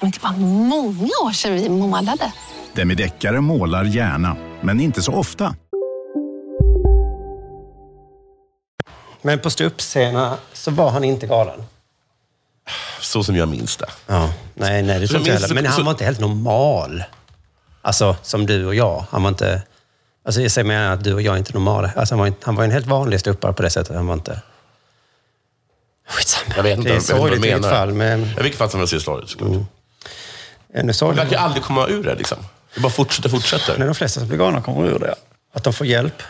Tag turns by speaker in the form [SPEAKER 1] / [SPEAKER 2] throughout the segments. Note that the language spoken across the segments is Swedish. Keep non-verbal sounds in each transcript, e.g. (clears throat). [SPEAKER 1] Men det var många år sedan vi målade.
[SPEAKER 2] Demideckare målar gärna, men inte så ofta.
[SPEAKER 3] Men på ståuppscenerna så var han inte galen.
[SPEAKER 4] Så som jag minns det.
[SPEAKER 3] Ja. Nej, nej, det
[SPEAKER 4] Så
[SPEAKER 3] tror inte jag
[SPEAKER 4] minns-
[SPEAKER 3] heller. Men han
[SPEAKER 4] så-
[SPEAKER 3] var inte helt normal. Alltså, som du och jag. Han var inte... Alltså, jag säger mer att du och jag är inte normala. Alltså, han, var inte, han var en helt vanlig ståuppare på det sättet. Han var inte... Skitsamma.
[SPEAKER 4] Jag vet inte,
[SPEAKER 3] det är
[SPEAKER 4] jag vet inte vad du
[SPEAKER 3] sorgligt i vilket
[SPEAKER 4] menar.
[SPEAKER 3] fall, men
[SPEAKER 4] I vilket fall som helst är det sorgligt såklart.
[SPEAKER 3] ännu
[SPEAKER 4] Det verkar
[SPEAKER 3] sorgligare.
[SPEAKER 4] aldrig komma ur det liksom. Det bara fortsätter,
[SPEAKER 3] När
[SPEAKER 4] fortsätter.
[SPEAKER 3] de flesta som blir galna kommer ur det. Att de får hjälp.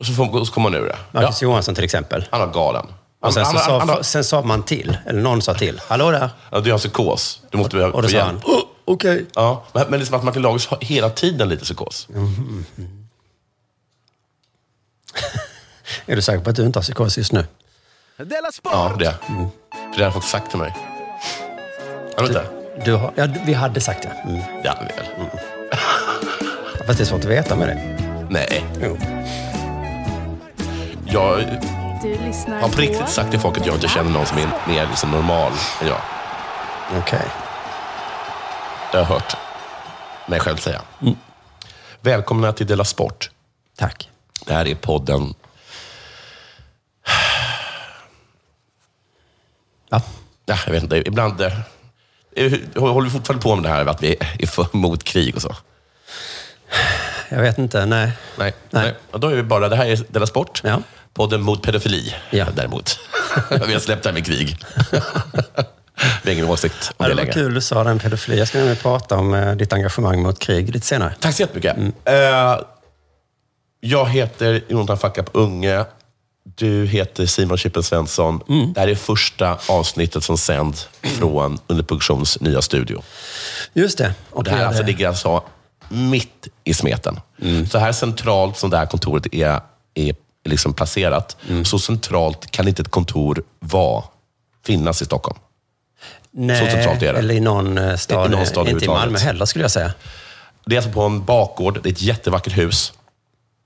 [SPEAKER 4] Och så, får, och så kommer man ur det. Ja.
[SPEAKER 3] Marcus Johansson till exempel.
[SPEAKER 4] Han var galen. Han,
[SPEAKER 3] Och sen,
[SPEAKER 4] han,
[SPEAKER 3] så
[SPEAKER 4] han, han,
[SPEAKER 3] sa, sen sa man till, eller någon sa till. Hallå där!
[SPEAKER 4] ja, du har psykos. Du måste
[SPEAKER 3] Och då
[SPEAKER 4] få
[SPEAKER 3] sa
[SPEAKER 4] hjälp.
[SPEAKER 3] han, oh, okej.
[SPEAKER 4] Ja, men men det är som att Martin Lagers har hela tiden lite psykos.
[SPEAKER 3] Mm. Är du säker på att du inte har psykos just nu?
[SPEAKER 4] Ja, det. För det har han fått sagt till mig. Har du inte?
[SPEAKER 3] Du har, ja, vi hade sagt det. Mm.
[SPEAKER 4] Ja, väl.
[SPEAKER 3] Fast det är svårt att veta med det.
[SPEAKER 4] Nej,
[SPEAKER 3] Jo.
[SPEAKER 4] jag
[SPEAKER 5] Du lyssnar
[SPEAKER 4] har på riktigt sagt till folk att jag inte känner någon som är mer liksom normal än jag.
[SPEAKER 3] Okej.
[SPEAKER 4] Det har jag hört mig själv säga. Välkomna till Della Sport.
[SPEAKER 3] Mm. Tack.
[SPEAKER 4] Det här är podden.
[SPEAKER 3] Ja.
[SPEAKER 4] Ja, jag vet inte, ibland... eh, Håller vi fortfarande på med det här att vi är för, (laughs) mot krig och så?
[SPEAKER 3] Jag vet inte, nej.
[SPEAKER 4] Nej.
[SPEAKER 3] Nej.
[SPEAKER 4] Nej. Och då är vi bara, det här är Della Sport.
[SPEAKER 3] Ja.
[SPEAKER 4] Podden mot pedofili
[SPEAKER 3] Ja.
[SPEAKER 4] däremot. (laughs) vi har släppt det här med krig.
[SPEAKER 3] (laughs)
[SPEAKER 4] vi har ingen åsikt om
[SPEAKER 3] Ja,
[SPEAKER 4] det
[SPEAKER 3] det var
[SPEAKER 4] längre.
[SPEAKER 3] kul du sa den pedofili. Jag ska nämligen prata om eh, ditt engagemang mot krig lite senare.
[SPEAKER 4] Tack så jättemycket. Eh, jag heter Jonathan Fackap Unge. Du heter Simon Chippen Svensson. Det här är första avsnittet som sänds från Underproduktions nya studio.
[SPEAKER 3] Just det.
[SPEAKER 4] Och det här alltså
[SPEAKER 3] det,
[SPEAKER 4] ligger alltså mitt i smeten. Så här centralt som det här kontoret är, är liksom placerat, så centralt kan inte ett kontor vara, finnas i Stockholm.
[SPEAKER 3] nej,
[SPEAKER 4] så centralt är det.
[SPEAKER 3] Eller i någon eh, stad.
[SPEAKER 4] I någon stad
[SPEAKER 3] inte i Malmö
[SPEAKER 4] överhuvudtaget.
[SPEAKER 3] heller skulle jag säga.
[SPEAKER 4] Det är alltså på en bakgård. Det är ett jättevackert hus.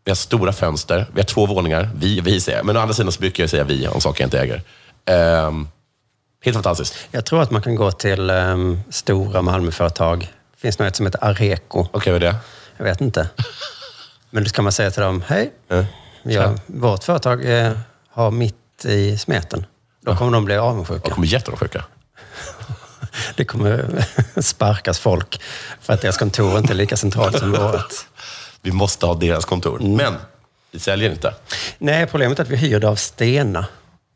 [SPEAKER 4] Vi har stora fönster. Vi har två våningar. Vi, vi säger jag. Men å andra sidan så brukar jag säga vi om saker jag inte äger. Ehm, helt fantastiskt.
[SPEAKER 3] Jag tror att man kan gå till ehm, stora Malmöföretag. Det finns något som heter Areco.
[SPEAKER 4] Okej, vad är det?
[SPEAKER 3] Jag vet
[SPEAKER 4] (laughs)
[SPEAKER 3] inte. Men då ska man säga till dem, hej,
[SPEAKER 4] Eh,
[SPEAKER 3] jag, vårt företag eh, har mitt i smeten. Då kommer de bli avundsjuka.
[SPEAKER 4] Jag kommer jätteavundsjuka.
[SPEAKER 3] Det kommer (laughs) sparkas folk för att deras kontor inte är lika centralt som vårt.
[SPEAKER 4] Vi måste ha deras kontor.
[SPEAKER 3] Mm.
[SPEAKER 4] Men vi säljer inte.
[SPEAKER 3] Nej, problemet är att vi hyrde av Stena.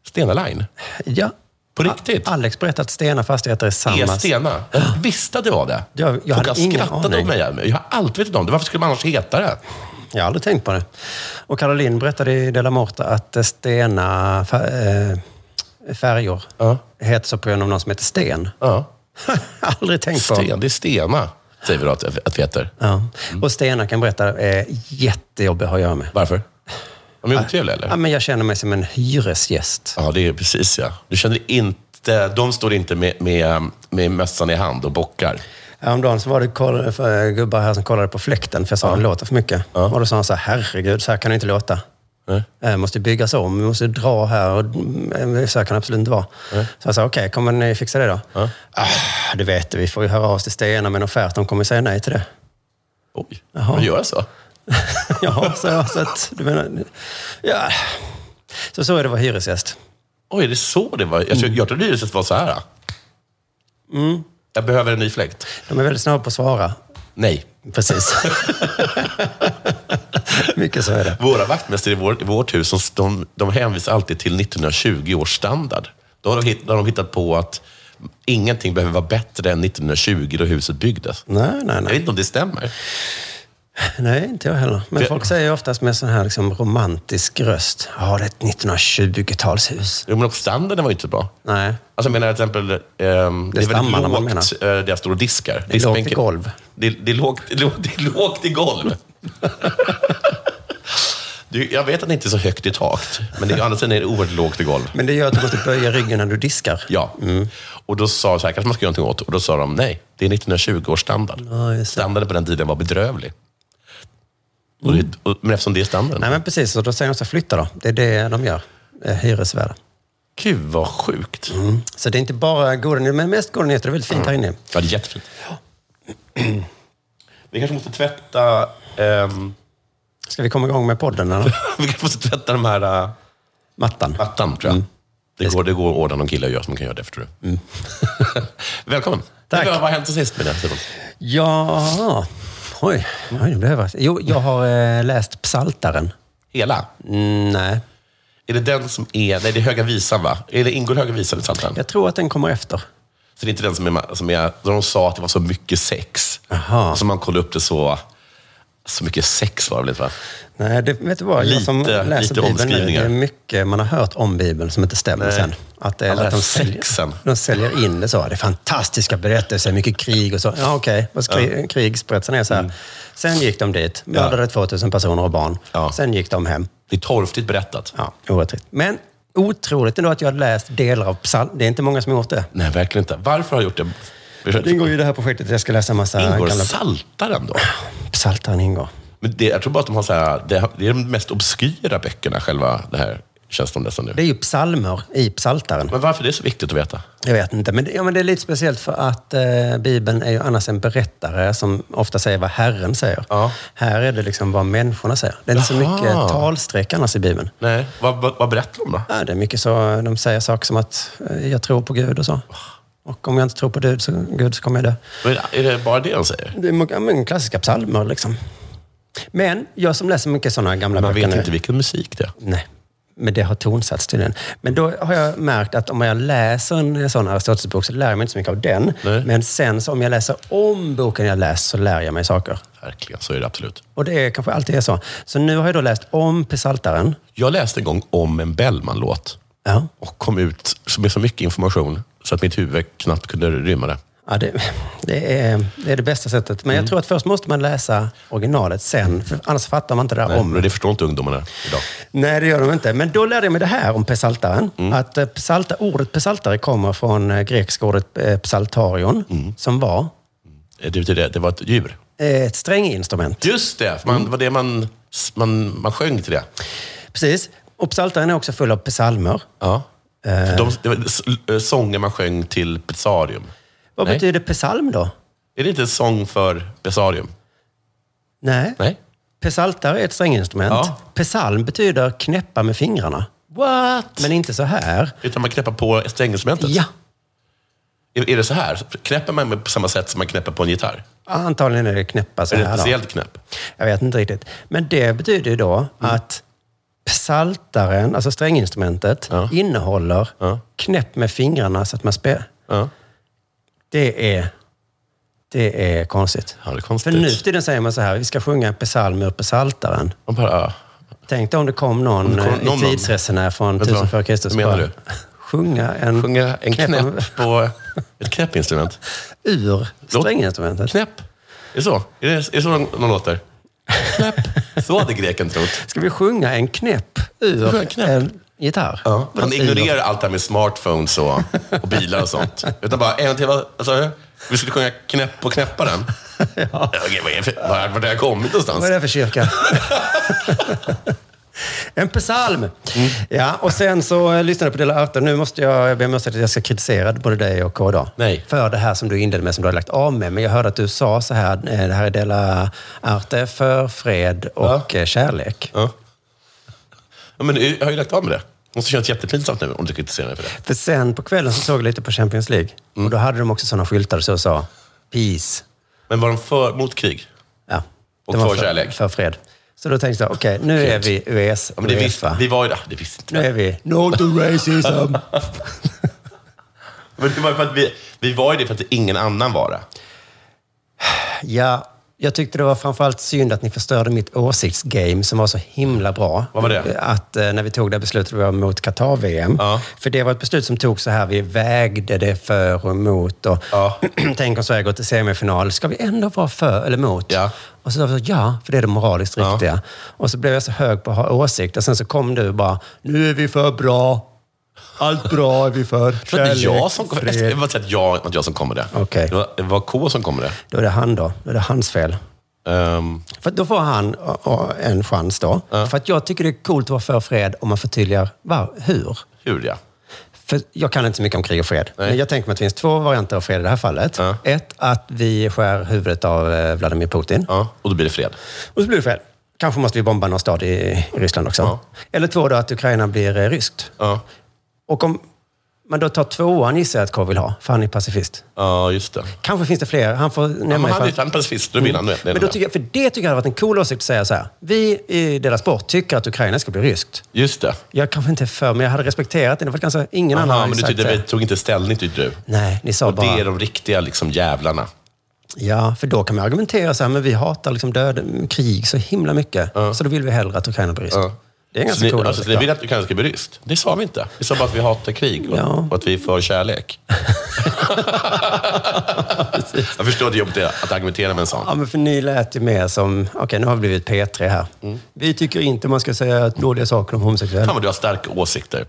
[SPEAKER 4] Stena Line.
[SPEAKER 3] Ja.
[SPEAKER 4] På riktigt?
[SPEAKER 3] A- Alex berättade att Stena Fastigheter är samma...
[SPEAKER 4] Är E Stena. Jag visste att det var det.
[SPEAKER 3] Jag- jag
[SPEAKER 4] Folk
[SPEAKER 3] hade
[SPEAKER 4] har
[SPEAKER 3] ingen
[SPEAKER 4] skrattat
[SPEAKER 3] aning.
[SPEAKER 4] åt mig. Jag har alltid vetat om det. Varför skulle man annars heta det?
[SPEAKER 3] Jag har aldrig tänkt på det. Och Caroline berättade i Della Morta att eh, Stena fa- eh, färjor
[SPEAKER 4] Ja.
[SPEAKER 3] heter så på grund av någon som heter Sten. (laughs)
[SPEAKER 4] Ja.
[SPEAKER 3] aldrig tänkt på.
[SPEAKER 4] Sten, Mm. det är Stena, säger vi då att, att vi heter.
[SPEAKER 3] Ja. Och Stena kan berätta är jättejobbig att ha att göra med.
[SPEAKER 4] Varför? Är de otrevliga eller?
[SPEAKER 3] Ja, men jag känner mig som en hyresgäst.
[SPEAKER 4] Ja, det är precis ja. Du känner inte, de står inte med, med, med mössan i hand och bockar.
[SPEAKER 3] Häromdagen så var det koll, eh, för- gubbar här som kollade på fläkten, för jag sa den låter för mycket. Och då sa han så här, herregud, så här kan det inte låta.
[SPEAKER 4] Nej.
[SPEAKER 3] Eh, måste byggas om, vi måste dra här och eh, så här kan det absolut inte vara. Så jag sa, okej, kommer ni fixa det då? Ah, det vet du, vi får ju höra av oss till Stena med en offert, de kommer säga nej till det. (laughs)
[SPEAKER 4] Oj, vad gör jag så?
[SPEAKER 3] ja, så jag, så att, du menar, ja. Så så är det att vara hyresgäst.
[SPEAKER 4] Oj, är det så det var? Jag, tror- jag trodde hyresgäst var så här. Jag behöver en ny fläkt.
[SPEAKER 3] De är väldigt snabba på att svara.
[SPEAKER 4] Nej.
[SPEAKER 3] Precis. (laughs) Mycket så är det.
[SPEAKER 4] Våra vaktmästare i, vår, i vårt hus, de, de, de hänvisar alltid till 1920 års standard. Då har de, hitt, då har de hittat på att ingenting behöver vara bättre än 1920 då huset byggdes.
[SPEAKER 3] Nej, nej,
[SPEAKER 4] Jag vet
[SPEAKER 3] nej.
[SPEAKER 4] inte om det stämmer.
[SPEAKER 3] Nej, inte jag heller. Men
[SPEAKER 4] För-
[SPEAKER 3] folk säger ju oftast med sån här liksom romantisk röst. Ja, det är ett 1920-talshus.
[SPEAKER 4] Jo, men också standarden var ju inte bra.
[SPEAKER 3] Nej,
[SPEAKER 4] Alltså jag menar till exempel, ehm, det är väldigt
[SPEAKER 3] stammarna man
[SPEAKER 4] lågt eh, där jag står och diskar.
[SPEAKER 3] det är lågt i
[SPEAKER 4] Diskbänken.
[SPEAKER 3] golv.
[SPEAKER 4] Det, det, är lågt, det, är lågt, det är lågt i golv. (laughs) du, jag vet att det inte är så högt i taket, men det, är- å andra sidan är det oerhört lågt i golv.
[SPEAKER 3] Men det gör att du måste böja ryggen när du diskar.
[SPEAKER 4] Ja.
[SPEAKER 3] Mm.
[SPEAKER 4] Och då sa jag så här, kanske man ska göra någonting åt. Och då sa de, nej, det är 1920 års standard.
[SPEAKER 3] Ja, just det.
[SPEAKER 4] Standarden på den tiden var bedrövlig. Och det, och, men eftersom det är standarden.
[SPEAKER 3] Mm. Nej, men precis. Och då säger de så här, flytta då. Det är det de gör. eh, Hyresvärdar.
[SPEAKER 4] Gud vad sjukt.
[SPEAKER 3] Så det är inte bara goda nyheter, men mest goda nyheter. Det är väldigt fint här inne.
[SPEAKER 4] Ja, det är jättefint. Vi kanske måste tvätta... ehm,
[SPEAKER 3] Ska vi komma igång med podden? Eller?
[SPEAKER 4] (laughs) vi kanske måste tvätta de här äh,
[SPEAKER 3] Mattan.
[SPEAKER 4] mattan, tror jag.
[SPEAKER 3] Mm.
[SPEAKER 4] Det, går, det går att ordna någon kille och jag som kan göra det, förstår du. (laughs) Välkommen.
[SPEAKER 3] Tack.
[SPEAKER 4] Vad har hänt sen sist med det här, Simon?
[SPEAKER 3] Ja, oj. oj nu blev jag överraskad. Jo, jag har eh, läst Psaltaren.
[SPEAKER 4] Hela?
[SPEAKER 3] Mm, nej,
[SPEAKER 4] Är det den som är... Nej, det är Höga Visan, va? Är det ingår Höga Visan i Psaltaren?
[SPEAKER 3] jag tror att den kommer efter.
[SPEAKER 4] Så det är inte den som är, som är då de sa att det var så mycket sex.
[SPEAKER 3] Aha.
[SPEAKER 4] Så man kollade upp det så, så mycket sex var det väl inte va?
[SPEAKER 3] Nej, det, vet du vad? jag
[SPEAKER 4] Lite-
[SPEAKER 3] som läser
[SPEAKER 4] lite
[SPEAKER 3] Bibeln nu, det
[SPEAKER 4] omskrivningar.
[SPEAKER 3] är mycket man har hört om Bibeln som inte stämmer
[SPEAKER 4] Nej.
[SPEAKER 3] sen. Att, det,
[SPEAKER 4] Alla
[SPEAKER 3] att de,
[SPEAKER 4] sexen.
[SPEAKER 3] säljer, de säljer in det så. Det är fantastiska berättelser, mycket krig och så. Ja, Mm. okej. Okay. Krig, Krigsberättelsen är så här. Sen gick de dit, mördade 2000 personer och barn.
[SPEAKER 4] Ja.
[SPEAKER 3] Sen gick de hem.
[SPEAKER 4] Det är torftigt berättat.
[SPEAKER 3] Ja, orättvist. Men otroligt ändå att jag har läst delar av psalm. Det är inte många som har gjort det.
[SPEAKER 4] Nej, verkligen inte. Varför har jag gjort det?
[SPEAKER 3] Det ingår ju i det här projektet att jag ska läsa en massa
[SPEAKER 4] Ingår
[SPEAKER 3] gamla
[SPEAKER 4] Saltaren då?
[SPEAKER 3] psaltaren ingår.
[SPEAKER 4] Men det, jag tror bara att de har så här, det, det är de mest obskyra böckerna, själva det här, känns som nästan nu.
[SPEAKER 3] Det är ju psalmer i psaltaren.
[SPEAKER 4] Men varför är det så viktigt att veta?
[SPEAKER 3] Jag vet inte, men det, ja, men det är lite speciellt för att eh, Bibeln är ju annars en berättare som ofta säger vad Herren säger.
[SPEAKER 4] Ja.
[SPEAKER 3] Här är det liksom vad människorna säger. Det är inte så
[SPEAKER 4] Jaha.
[SPEAKER 3] mycket talstreck annars i Bibeln.
[SPEAKER 4] Nej, vad, vad, vad berättar de då?
[SPEAKER 3] Ja, det är mycket så, eh, de säger saker som att eh, jag tror på Gud och så. Och om jag inte tror på Gud så, Gud så kommer jag dö.
[SPEAKER 4] Är det, är det bara det de säger?
[SPEAKER 3] Det är många ja, men klassiska psalmer liksom. Men jag som läser mycket sådana gamla
[SPEAKER 4] Man
[SPEAKER 3] böcker
[SPEAKER 4] vet
[SPEAKER 3] nu-
[SPEAKER 4] inte vilken musik det är.
[SPEAKER 3] Nej, men det har tonsatts tydligen. Men då har jag märkt att om jag läser en sån Aristoteles bok så lär jag mig inte så mycket av den.
[SPEAKER 4] Nej.
[SPEAKER 3] Men sen så om jag läser om boken jag läst så lär jag mig saker.
[SPEAKER 4] Verkligen, så är det absolut.
[SPEAKER 3] Och det är, kanske alltid är så. Så nu har jag då läst om Psaltaren.
[SPEAKER 4] Jag läste en gång om en Bellman-låt.
[SPEAKER 3] Ja.
[SPEAKER 4] och kom ut med så mycket information så att mitt huvud knappt kunde rymma det.
[SPEAKER 3] Ja, det, det, är, det är det bästa sättet. Men
[SPEAKER 4] Mm.
[SPEAKER 3] jag tror att först måste man läsa originalet sen, för annars fattar man inte det där
[SPEAKER 4] Nej,
[SPEAKER 3] om.
[SPEAKER 4] men det förstår inte ungdomarna idag.
[SPEAKER 3] Nej, det gör de inte. Men då lärde jag mig det här om psaltaren.
[SPEAKER 4] Mm.
[SPEAKER 3] Att eh, psalta, ordet psaltare kommer från eh, grekiska ordet eh, psaltarion,
[SPEAKER 4] Mm.
[SPEAKER 3] som var
[SPEAKER 4] Eh, Det betyder, det var ett djur.
[SPEAKER 3] Eh, Ett stränginstrument.
[SPEAKER 4] Just det! för Man, det var det man, man, man sjöng till det.
[SPEAKER 3] Precis. Och psaltaren är också full av psalmer.
[SPEAKER 4] Ja. De, det var s- eh, sånger man sjöng till Pesarium.
[SPEAKER 3] Vad
[SPEAKER 4] Nej.
[SPEAKER 3] betyder psalm då?
[SPEAKER 4] Är det inte en sång för Pesarium?
[SPEAKER 3] Nej.
[SPEAKER 4] Nej.
[SPEAKER 3] Psaltare är ett stränginstrument.
[SPEAKER 4] Ja.
[SPEAKER 3] Psalm betyder knäppa med fingrarna.
[SPEAKER 4] What?
[SPEAKER 3] Men inte så här.
[SPEAKER 4] Utan man knäpper på stränginstrumentet?
[SPEAKER 3] Ja,
[SPEAKER 4] Är, är det så här? Knäpper man med på samma sätt som man knäpper på en gitarr?
[SPEAKER 3] antagligen är det knäppa så
[SPEAKER 4] Är det ett
[SPEAKER 3] här. Då.
[SPEAKER 4] speciellt Mm. knäpp?
[SPEAKER 3] Jag vet inte riktigt. Men det betyder ju då att psaltaren, alltså stränginstrumentet,
[SPEAKER 4] Ja.
[SPEAKER 3] innehåller
[SPEAKER 4] Ja.
[SPEAKER 3] knäpp med fingrarna så att man spelar.
[SPEAKER 4] Ja.
[SPEAKER 3] Det är, det är konstigt.
[SPEAKER 4] Ja, det är
[SPEAKER 3] För
[SPEAKER 4] konstigt.
[SPEAKER 3] nu för tiden säger man så här, vi ska sjunga en psalm ur psaltaren.
[SPEAKER 4] Man bara, ja.
[SPEAKER 3] Tänk dig om det kom någon,
[SPEAKER 4] det kom
[SPEAKER 3] eh,
[SPEAKER 4] någon-
[SPEAKER 3] i tidsresenär från
[SPEAKER 4] Vänta,
[SPEAKER 3] 1000 före Kristus.
[SPEAKER 4] vad menar
[SPEAKER 3] bara,
[SPEAKER 4] du?
[SPEAKER 3] Sjunga en,
[SPEAKER 4] Sjunga en
[SPEAKER 3] knäpp av-
[SPEAKER 4] knäpp på ett (laughs) knäppinstrument.
[SPEAKER 3] ur stränginstrumentet.
[SPEAKER 4] Knäpp. Är det så? Är det, är det så de, de låter? Knäpp. Så hade greken trott.
[SPEAKER 3] Ska vi sjunga en knäpp
[SPEAKER 4] Sjunga
[SPEAKER 3] ur
[SPEAKER 4] en knäpp?
[SPEAKER 3] en gitarr?
[SPEAKER 4] Ja. Han
[SPEAKER 3] Ur-
[SPEAKER 4] ignorerar allt det här med smartphones och, och bilar och sånt. Utan bara, en till, vad vad sa du? Vi skulle sjunga knäpp
[SPEAKER 3] (laughs)
[SPEAKER 4] på knäpparen. ja. Okej, vad är det för, var, var det här kommit någonstans?
[SPEAKER 3] Vad är det för kyrka? en psalm!
[SPEAKER 4] Mm.
[SPEAKER 3] Ja, och sen så eh, lyssnade jag på del 18. Nu måste jag, jag ber om ursäkt att jag ska kritisera både dig och Kåda.
[SPEAKER 4] Nej.
[SPEAKER 3] För det här som du inledde med, som du har lagt av med. Men jag hörde att du sa så här, eh, det här är Dela Arte för fred och eh, kärlek.
[SPEAKER 4] (laughs) Ja. ja. Men jag har ju lagt av med det. Måste kännas jättepinsamt nu om du kritiserar mig för det.
[SPEAKER 3] För
[SPEAKER 4] Mm.
[SPEAKER 3] sen på kvällen så såg jag lite på Champions League. Och då hade de också sådana skyltar så sa Peace.
[SPEAKER 4] Men var de för, mot krig?
[SPEAKER 3] Ja.
[SPEAKER 4] Och
[SPEAKER 3] Det var
[SPEAKER 4] för kärlek.
[SPEAKER 3] För fred. Så då tänkte jag, okej, nu är vi US,
[SPEAKER 4] Ja, men det visste,
[SPEAKER 3] Uefa.
[SPEAKER 4] vi var ju där. Det visste
[SPEAKER 3] Nu
[SPEAKER 4] inte
[SPEAKER 3] är
[SPEAKER 4] jag.
[SPEAKER 3] vi... Not racism!
[SPEAKER 4] Men det var ju för att vi, vi var ju det för att ingen annan var det.
[SPEAKER 3] (laughs) ja, jag tyckte det var framförallt synd att ni förstörde mitt åsiktsgame som var så himla bra.
[SPEAKER 4] Vad var det?
[SPEAKER 3] Att eh, när vi tog det här beslutet vi var mot Qatar-VM.
[SPEAKER 4] Ja.
[SPEAKER 3] För det var ett beslut som togs så här, vi vägde det för och emot. Och
[SPEAKER 4] Ja.
[SPEAKER 3] (clears throat) Tänk om Sverige går till semifinal, ska vi ändå vara för eller emot?
[SPEAKER 4] Ja.
[SPEAKER 3] Och så sa vi så, ja, för det är det moraliskt
[SPEAKER 4] Ja.
[SPEAKER 3] riktiga. Och så blev jag så hög på att ha åsikt. Och sen så kom du och bara, nu är vi för bra. Allt bra är vi
[SPEAKER 4] (laughs)
[SPEAKER 3] för.
[SPEAKER 4] Jag tror att det är jag som kommer.
[SPEAKER 3] fred."
[SPEAKER 4] Jag (laughs) vill bara säga att jag, att jag som kommer det.
[SPEAKER 3] Okej.
[SPEAKER 4] Det, var, det var K som kommer det.
[SPEAKER 3] Då är det han då. Då är det hans fel.
[SPEAKER 4] Ehm,
[SPEAKER 3] För då får han och, och en chans då. För att jag tycker det är coolt att vara för fred om man förtydligar var, hur.
[SPEAKER 4] hur ja.
[SPEAKER 3] För jag kan inte så mycket om krig och fred.
[SPEAKER 4] Nej.
[SPEAKER 3] Men jag tänker mig att det finns två varianter av fred i det här fallet.
[SPEAKER 4] Ja.
[SPEAKER 3] Ett, att vi skär huvudet av eh, Vladimir Putin.
[SPEAKER 4] ja. Och då blir det fred.
[SPEAKER 3] Och så blir det fred. Kanske måste vi bomba någon stad i, i Ryssland också.
[SPEAKER 4] Ja.
[SPEAKER 3] Eller två då, att Ukraina blir eh, ryskt.
[SPEAKER 4] Ja,
[SPEAKER 3] Och om man då tar tvåan gissar jag att K vill ha, för han är pacifist.
[SPEAKER 4] ja just det.
[SPEAKER 3] Kanske finns det fler. Han får nämna
[SPEAKER 4] Ja, men han
[SPEAKER 3] ifall-
[SPEAKER 4] är inte han är pacifist, då vinner han. Det är
[SPEAKER 3] Mm. Men
[SPEAKER 4] den
[SPEAKER 3] då
[SPEAKER 4] där.
[SPEAKER 3] tycker jag, för det tycker jag hade varit en cool åsikt att säga så här. Vi i deras sport tycker att Ukraina ska bli ryskt.
[SPEAKER 4] Just det.
[SPEAKER 3] Jag kanske inte är för, men jag hade respekterat det. Det var kanske ingen annan
[SPEAKER 4] Aha,
[SPEAKER 3] hade
[SPEAKER 4] men du
[SPEAKER 3] sagt
[SPEAKER 4] tyckte,
[SPEAKER 3] det.
[SPEAKER 4] vi tog inte ställning tyckte du.
[SPEAKER 3] Nej, ni sa
[SPEAKER 4] Och det
[SPEAKER 3] bara...
[SPEAKER 4] är de riktiga liksom, jävlarna.
[SPEAKER 3] Ja, för då kan man argumentera så här, men vi hatar liksom död, krig så himla mycket. Så då vill vi hellre att Ukraina blir ryskt.
[SPEAKER 4] Ja.
[SPEAKER 3] Det är en
[SPEAKER 4] Så
[SPEAKER 3] ganska
[SPEAKER 4] ni,
[SPEAKER 3] cool
[SPEAKER 4] alltså,
[SPEAKER 3] åsikt.
[SPEAKER 4] ni vill
[SPEAKER 3] va?
[SPEAKER 4] att Ukraina ska bli rysk? Det sa vi inte. Vi sa bara att vi hatar krig och,
[SPEAKER 3] Ja.
[SPEAKER 4] och att vi är
[SPEAKER 3] (laughs)
[SPEAKER 4] för kärlek. jag förstår det jobbigt det är att argumentera med en sån.
[SPEAKER 3] Ja, men för ni lät ju mer som, okej nu har vi blivit P3 här. Vi tycker inte man ska säga dåliga saker om homosexuella.
[SPEAKER 4] Fan vad du har starka åsikter,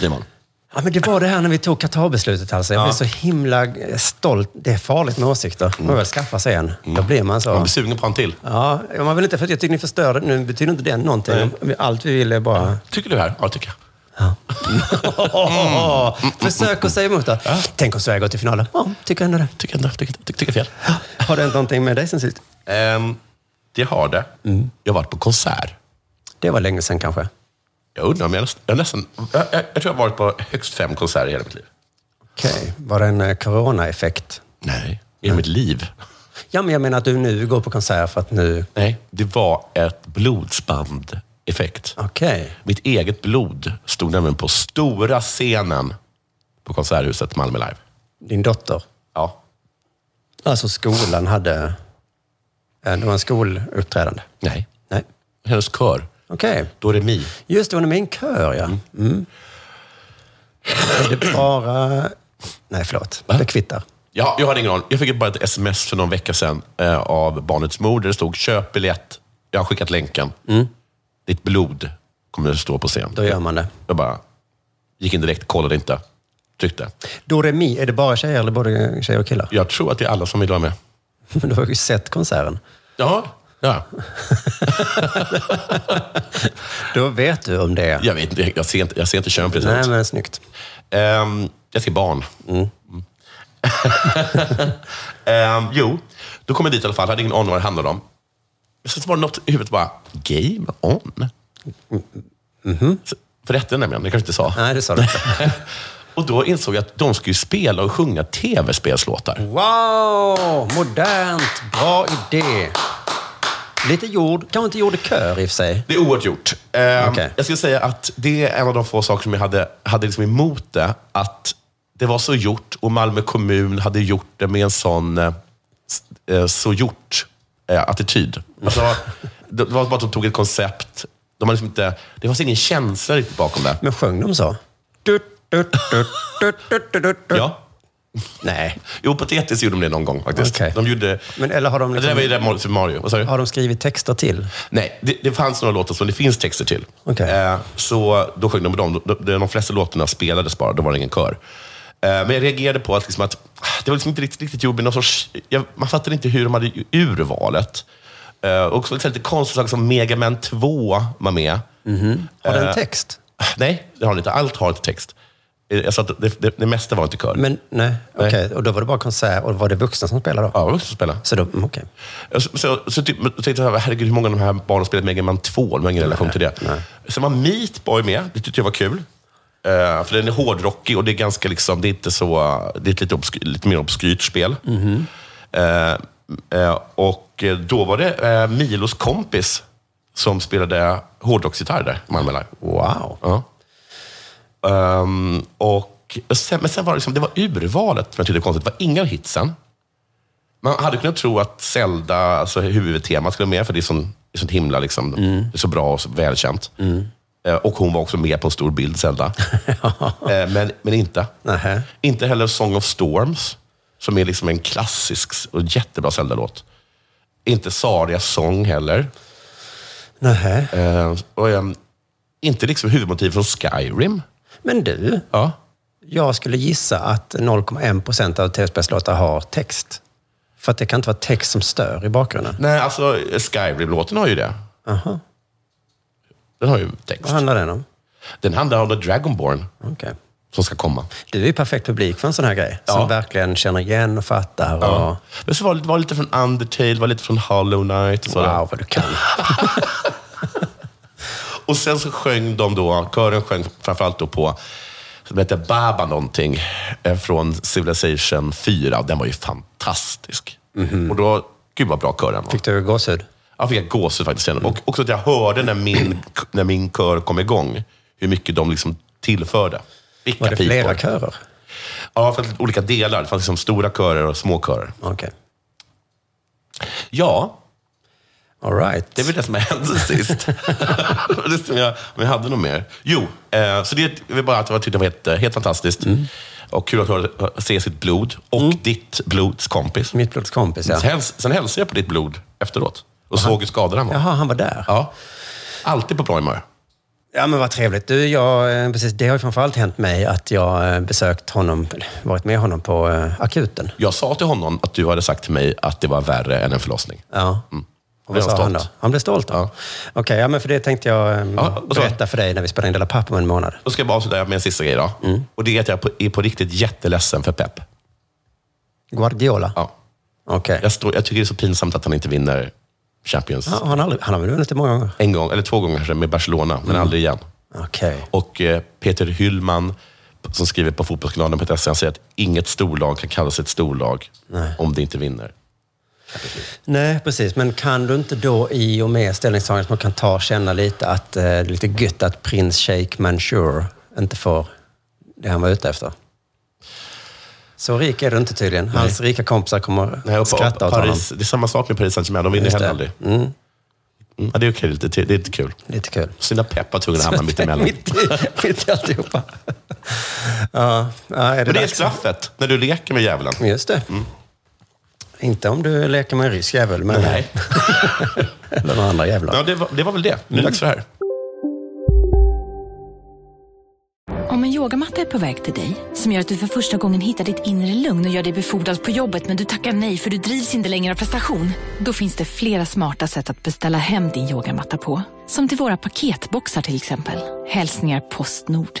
[SPEAKER 4] Simon.
[SPEAKER 3] Ja, men det var det här när vi tog Qatar-beslutet. Alltså. Jag blev så himla eh, stolt. Det är farligt med åsikter. Man väl skaffar sig en. Då blir man
[SPEAKER 4] Man
[SPEAKER 3] så.
[SPEAKER 4] blir sugen på en till.
[SPEAKER 3] Ja, man vill inte, för jag tycker ni förstörde. Nu betyder inte det någonting. Allt vi ville är (laughs) bara...
[SPEAKER 4] Tycker du här? Ja, det tycker jag.
[SPEAKER 3] Försök att säga emot det. Tänk om Sverige går till finalen. Ja, tycker ändå det.
[SPEAKER 4] Tycker ändå, tycker, tycker, tycker fel.
[SPEAKER 3] Har det hänt någonting med dig sen sist?
[SPEAKER 4] Ehm, det har det. Jag har varit på konsert.
[SPEAKER 3] Det var länge sen kanske.
[SPEAKER 4] Jag undrar om jag nästan... Jag, nästan jag, jag, jag tror jag har varit på högst fem konserter i hela mitt liv.
[SPEAKER 3] Okej. Var det en eh, corona-effekt?
[SPEAKER 4] Nej. I hela mitt liv?
[SPEAKER 3] Ja, men jag menar att du nu går på konsert för att nu...
[SPEAKER 4] Nej. Det var ett blodsband-effekt.
[SPEAKER 3] Okej.
[SPEAKER 4] Mitt eget blod stod nämligen på stora scenen på Konserthuset Malmö Live.
[SPEAKER 3] Din dotter.
[SPEAKER 4] Ja.
[SPEAKER 3] Alltså skolan hade... eh, Det var en skoluppträdande.
[SPEAKER 4] Nej.
[SPEAKER 3] Nej.
[SPEAKER 4] Hennes kör.
[SPEAKER 3] Okej.
[SPEAKER 4] Doremi.
[SPEAKER 3] Just det, hon är med i en kör, ja. Mm. Är det bara... Nej, förlåt. Det kvittar.
[SPEAKER 4] Ja, jag har ingen aning. Jag fick bara ett sms för någon vecka sedan eh, av barnets mor där det stod köp biljett. Jag har skickat länken. Ditt blod kommer att stå på scen.
[SPEAKER 3] Mm. Då gör man det.
[SPEAKER 4] Jag bara gick in direkt, kollade inte, tryckte.
[SPEAKER 3] Doremi, är det bara tjejer eller både tjejer och killar?
[SPEAKER 4] Jag tror att det är alla som vill vara med.
[SPEAKER 3] Du har ju sett konserten.
[SPEAKER 4] Ja, ja.
[SPEAKER 3] Då vet du om det.
[SPEAKER 4] Jag, vet, inte, jag, ser inte, jag ser inte kön på det
[SPEAKER 3] Nej,
[SPEAKER 4] sättet.
[SPEAKER 3] men snyggt.
[SPEAKER 4] Ehm, jag ser barn. Mm. (laughs) Ehm, jo, då kom jag dit i alla fall. hade ingen aning vad det handlade om. Sen så var det något i huvudet bara, game on. Så- För det hette det nämligen, det kanske inte sa.
[SPEAKER 3] Nej, det sa du inte.
[SPEAKER 4] (laughs) och då insåg jag att de skulle ju spela och sjunga tv-spelslåtar.
[SPEAKER 3] Wow! Modernt! Bra idé! Lite jord. Kanske inte jord i kör i och för sig.
[SPEAKER 4] Det är oerhört gjort. Ehm,
[SPEAKER 3] Okej.
[SPEAKER 4] Jag skulle säga att det är en av de få saker som jag hade, hade liksom emot det. Att det var så gjort och Malmö kommun hade gjort det med en sån eh, s- eh, så gjort-attityd. Alltså, det var bara att de tog ett koncept. De hade liksom inte, det fanns ingen känsla riktigt bakom det.
[SPEAKER 3] Men sjöng de så? Tut, tut, tut, tut, tut, tut, tut.
[SPEAKER 4] Ja.
[SPEAKER 3] Nej.
[SPEAKER 4] Jo, på Tetris gjorde de det någon gång faktiskt.
[SPEAKER 3] Okej.
[SPEAKER 4] De gjorde...
[SPEAKER 3] Men eller har de
[SPEAKER 4] Det där var ju
[SPEAKER 3] liksom-
[SPEAKER 4] det där Super Mario. Vad sa du?
[SPEAKER 3] Har de skrivit texter till?
[SPEAKER 4] Nej, det, det fanns några låtar som det finns texter till.
[SPEAKER 3] Okej.
[SPEAKER 4] Eh, så då sjöng de med dem. De, de, de flesta låtarna spelades bara, då var det ingen kör. Eh, men jag reagerade på att, liksom att ah, det var liksom inte riktigt, riktigt jobbigt. Någon sorts, jag, man fattade inte hur de hade ju- urvalet. Eh, och också lite konstiga saker som Mega Man 2 var med.
[SPEAKER 3] Har den
[SPEAKER 4] Eh,
[SPEAKER 3] text?
[SPEAKER 4] Nej, det har de inte. Allt har inte text. Eh, Jag sa att det, det, det mesta var inte kör.
[SPEAKER 3] Men nej, okej. Och då var det bara konsert och var det vuxna som spelade då?
[SPEAKER 4] ja, det var också att spela.
[SPEAKER 3] Så då, mm, okej.
[SPEAKER 4] Så, så, så typ, jag tänkte jag, herregud, hur många av de här barnen har spelat Mega Man 2? De har ingen relation till det. Sen var Meat Boy med. Det tyckte jag var kul. Eh, för den är hårdrockig och det är ganska liksom, det är inte så, det är ett lite, obsky, lite mer obskyrt spel. Eh, Eh, och eh, då var det eh, Milos kompis som spelade hårdrocksgitarr där, Malmö Live.
[SPEAKER 3] Wow.
[SPEAKER 4] Ja. Ehm, och sen, men sen var det, liksom, det var urvalet som jag tyckte var konstigt. Det var inga av hitsen. Man hade kunnat tro att Zelda, alltså huvudtemat, skulle vara med, för det är, sån, det är sånt himla liksom, det är så bra och så välkänt. Eh, och hon var också med på en stor bild, Zelda. Eh, men, men inte.
[SPEAKER 3] Nähä.
[SPEAKER 4] Inte heller Song of Storms, som är liksom en klassisk och jättebra Zelda-låt. Inte Sarias sång heller.
[SPEAKER 3] Nähä.
[SPEAKER 4] Eh, och, ehm, inte liksom huvudmotiv från Skyrim.
[SPEAKER 3] Men du,
[SPEAKER 4] Ja.
[SPEAKER 3] jag skulle gissa att 0,1 procent av tv-spelslåtar har text. För att det kan inte vara text som stör i bakgrunden.
[SPEAKER 4] Nej, alltså Skyrim-låten har ju det.
[SPEAKER 3] Aha.
[SPEAKER 4] Den har ju text.
[SPEAKER 3] Vad handlar den om?
[SPEAKER 4] Den handlar om The Dragonborn
[SPEAKER 3] Okej.
[SPEAKER 4] som ska komma.
[SPEAKER 3] Du är ju perfekt publik för en sån här grej.
[SPEAKER 4] Ja.
[SPEAKER 3] Som verkligen känner igen och fattar. Och...
[SPEAKER 4] Men så var det var lite från Undertale, var lite från Hollow Knight. Och, sådär.
[SPEAKER 3] Wow, vad du kan.
[SPEAKER 4] och sen så sjöng de då, kören sjöng framförallt då på, som heter Baba någonting, eh, från Civilization 4. Den var ju fantastisk. Och då, gud vad bra kören var.
[SPEAKER 3] Mhm. Fick du gåshud?
[SPEAKER 4] Jag fick gåshud faktiskt. sen. Och också att jag hörde när min, när min kör kom igång, hur mycket de liksom tillförde. Vilka
[SPEAKER 3] Var det
[SPEAKER 4] pipor.
[SPEAKER 3] flera körer?
[SPEAKER 4] Ja, för att olika delar. Det fanns liksom stora körer och små körer.
[SPEAKER 3] Okej.
[SPEAKER 4] Ja,
[SPEAKER 3] All right.
[SPEAKER 4] det är väl det som har hänt (laughs) sist. Det är som jag, om jag hade något mer. Jo, eh, så det jag vill bara att jag tyckte det var helt, eh, helt fantastiskt.
[SPEAKER 3] Mm.
[SPEAKER 4] Och kul att höra- se sitt blod och ditt blods kompis.
[SPEAKER 3] Mitt blods kompis,
[SPEAKER 4] Sen,
[SPEAKER 3] Mm. ja.
[SPEAKER 4] häls, sen hälsade jag på ditt blod efteråt och såg hur skadad han var.
[SPEAKER 3] Jaha, han var där.
[SPEAKER 4] Ja. Alltid på bra humör.
[SPEAKER 3] Ja, men vad trevligt. Du, jag, eh, precis, det har ju framförallt hänt mig att jag eh, besökt honom, varit med honom på eh, akuten.
[SPEAKER 4] Jag sa till honom att du hade sagt till mig att det var värre än en förlossning.
[SPEAKER 3] Ja.
[SPEAKER 4] Mm.
[SPEAKER 3] Och vad
[SPEAKER 4] Blev han
[SPEAKER 3] sa han då?
[SPEAKER 4] stolt?
[SPEAKER 3] Han blev stolt? då?
[SPEAKER 4] Ja.
[SPEAKER 3] Okej, ja, men för det tänkte jag eh,
[SPEAKER 4] Ja, och så-
[SPEAKER 3] berätta för dig när vi spelar in Dela Papp om en månad.
[SPEAKER 4] Då ska jag bara avsluta med en sista grej då.
[SPEAKER 3] Mm.
[SPEAKER 4] Och det är att jag på, är på riktigt jätteledsen för Pep.
[SPEAKER 3] Guardiola?
[SPEAKER 4] Ja.
[SPEAKER 3] Okej.
[SPEAKER 4] Jag, står, jag tycker det är så pinsamt att han inte vinner Champions.
[SPEAKER 3] Ja, han, har aldrig- han har väl vunnit det många gånger?
[SPEAKER 4] En gång, eller två gånger kanske, med Barcelona, men aldrig igen.
[SPEAKER 3] Okej.
[SPEAKER 4] Och eh, Peter Hyllman, som skriver på Fotbollskanalen.se, E, han säger att inget storlag kan kalla sig ett storlag om det inte vinner.
[SPEAKER 3] Nej, precis. Men kan du inte då i och med ställningstagandet som man kan ta känna lite att eh, det är lite gött att prins Sheikh Mansour inte får det han var ute efter? Så rik är du inte tydligen. Hans rika kompisar kommer
[SPEAKER 4] Nej, och
[SPEAKER 3] skratta
[SPEAKER 4] pa-
[SPEAKER 3] åt honom.
[SPEAKER 4] Paris, det är samma sak med Paris Saint-Germain, de vinner
[SPEAKER 3] Just
[SPEAKER 4] heller
[SPEAKER 3] det.
[SPEAKER 4] aldrig. Mm, Ja, det är okej, det, det, det är lite kul.
[SPEAKER 3] Lite kul.
[SPEAKER 4] Sina Pep var tvungen att hamna (laughs) mitt
[SPEAKER 3] (laughs)
[SPEAKER 4] emellan.
[SPEAKER 3] mitt, i, mitt i alltihopa. (laughs) ja, ja, är det,
[SPEAKER 4] Men det är Mm.
[SPEAKER 3] dags?
[SPEAKER 4] straffet, när du leker med djävulen.
[SPEAKER 3] Just det. Inte om du leker med en rysk jävel, men...
[SPEAKER 4] Nej.
[SPEAKER 3] Eller några andra jävlar.
[SPEAKER 4] Ja, det, var, det var väl det. Nu är det dags för det här.
[SPEAKER 5] Om en yogamatta är på väg till dig, som gör att du för första gången hittar ditt inre lugn och gör dig befordrad på jobbet men du tackar nej för du drivs inte längre av prestation. Då finns det flera smarta sätt att beställa hem din yogamatta på. Som till våra paketboxar till exempel. Hälsningar Postnord.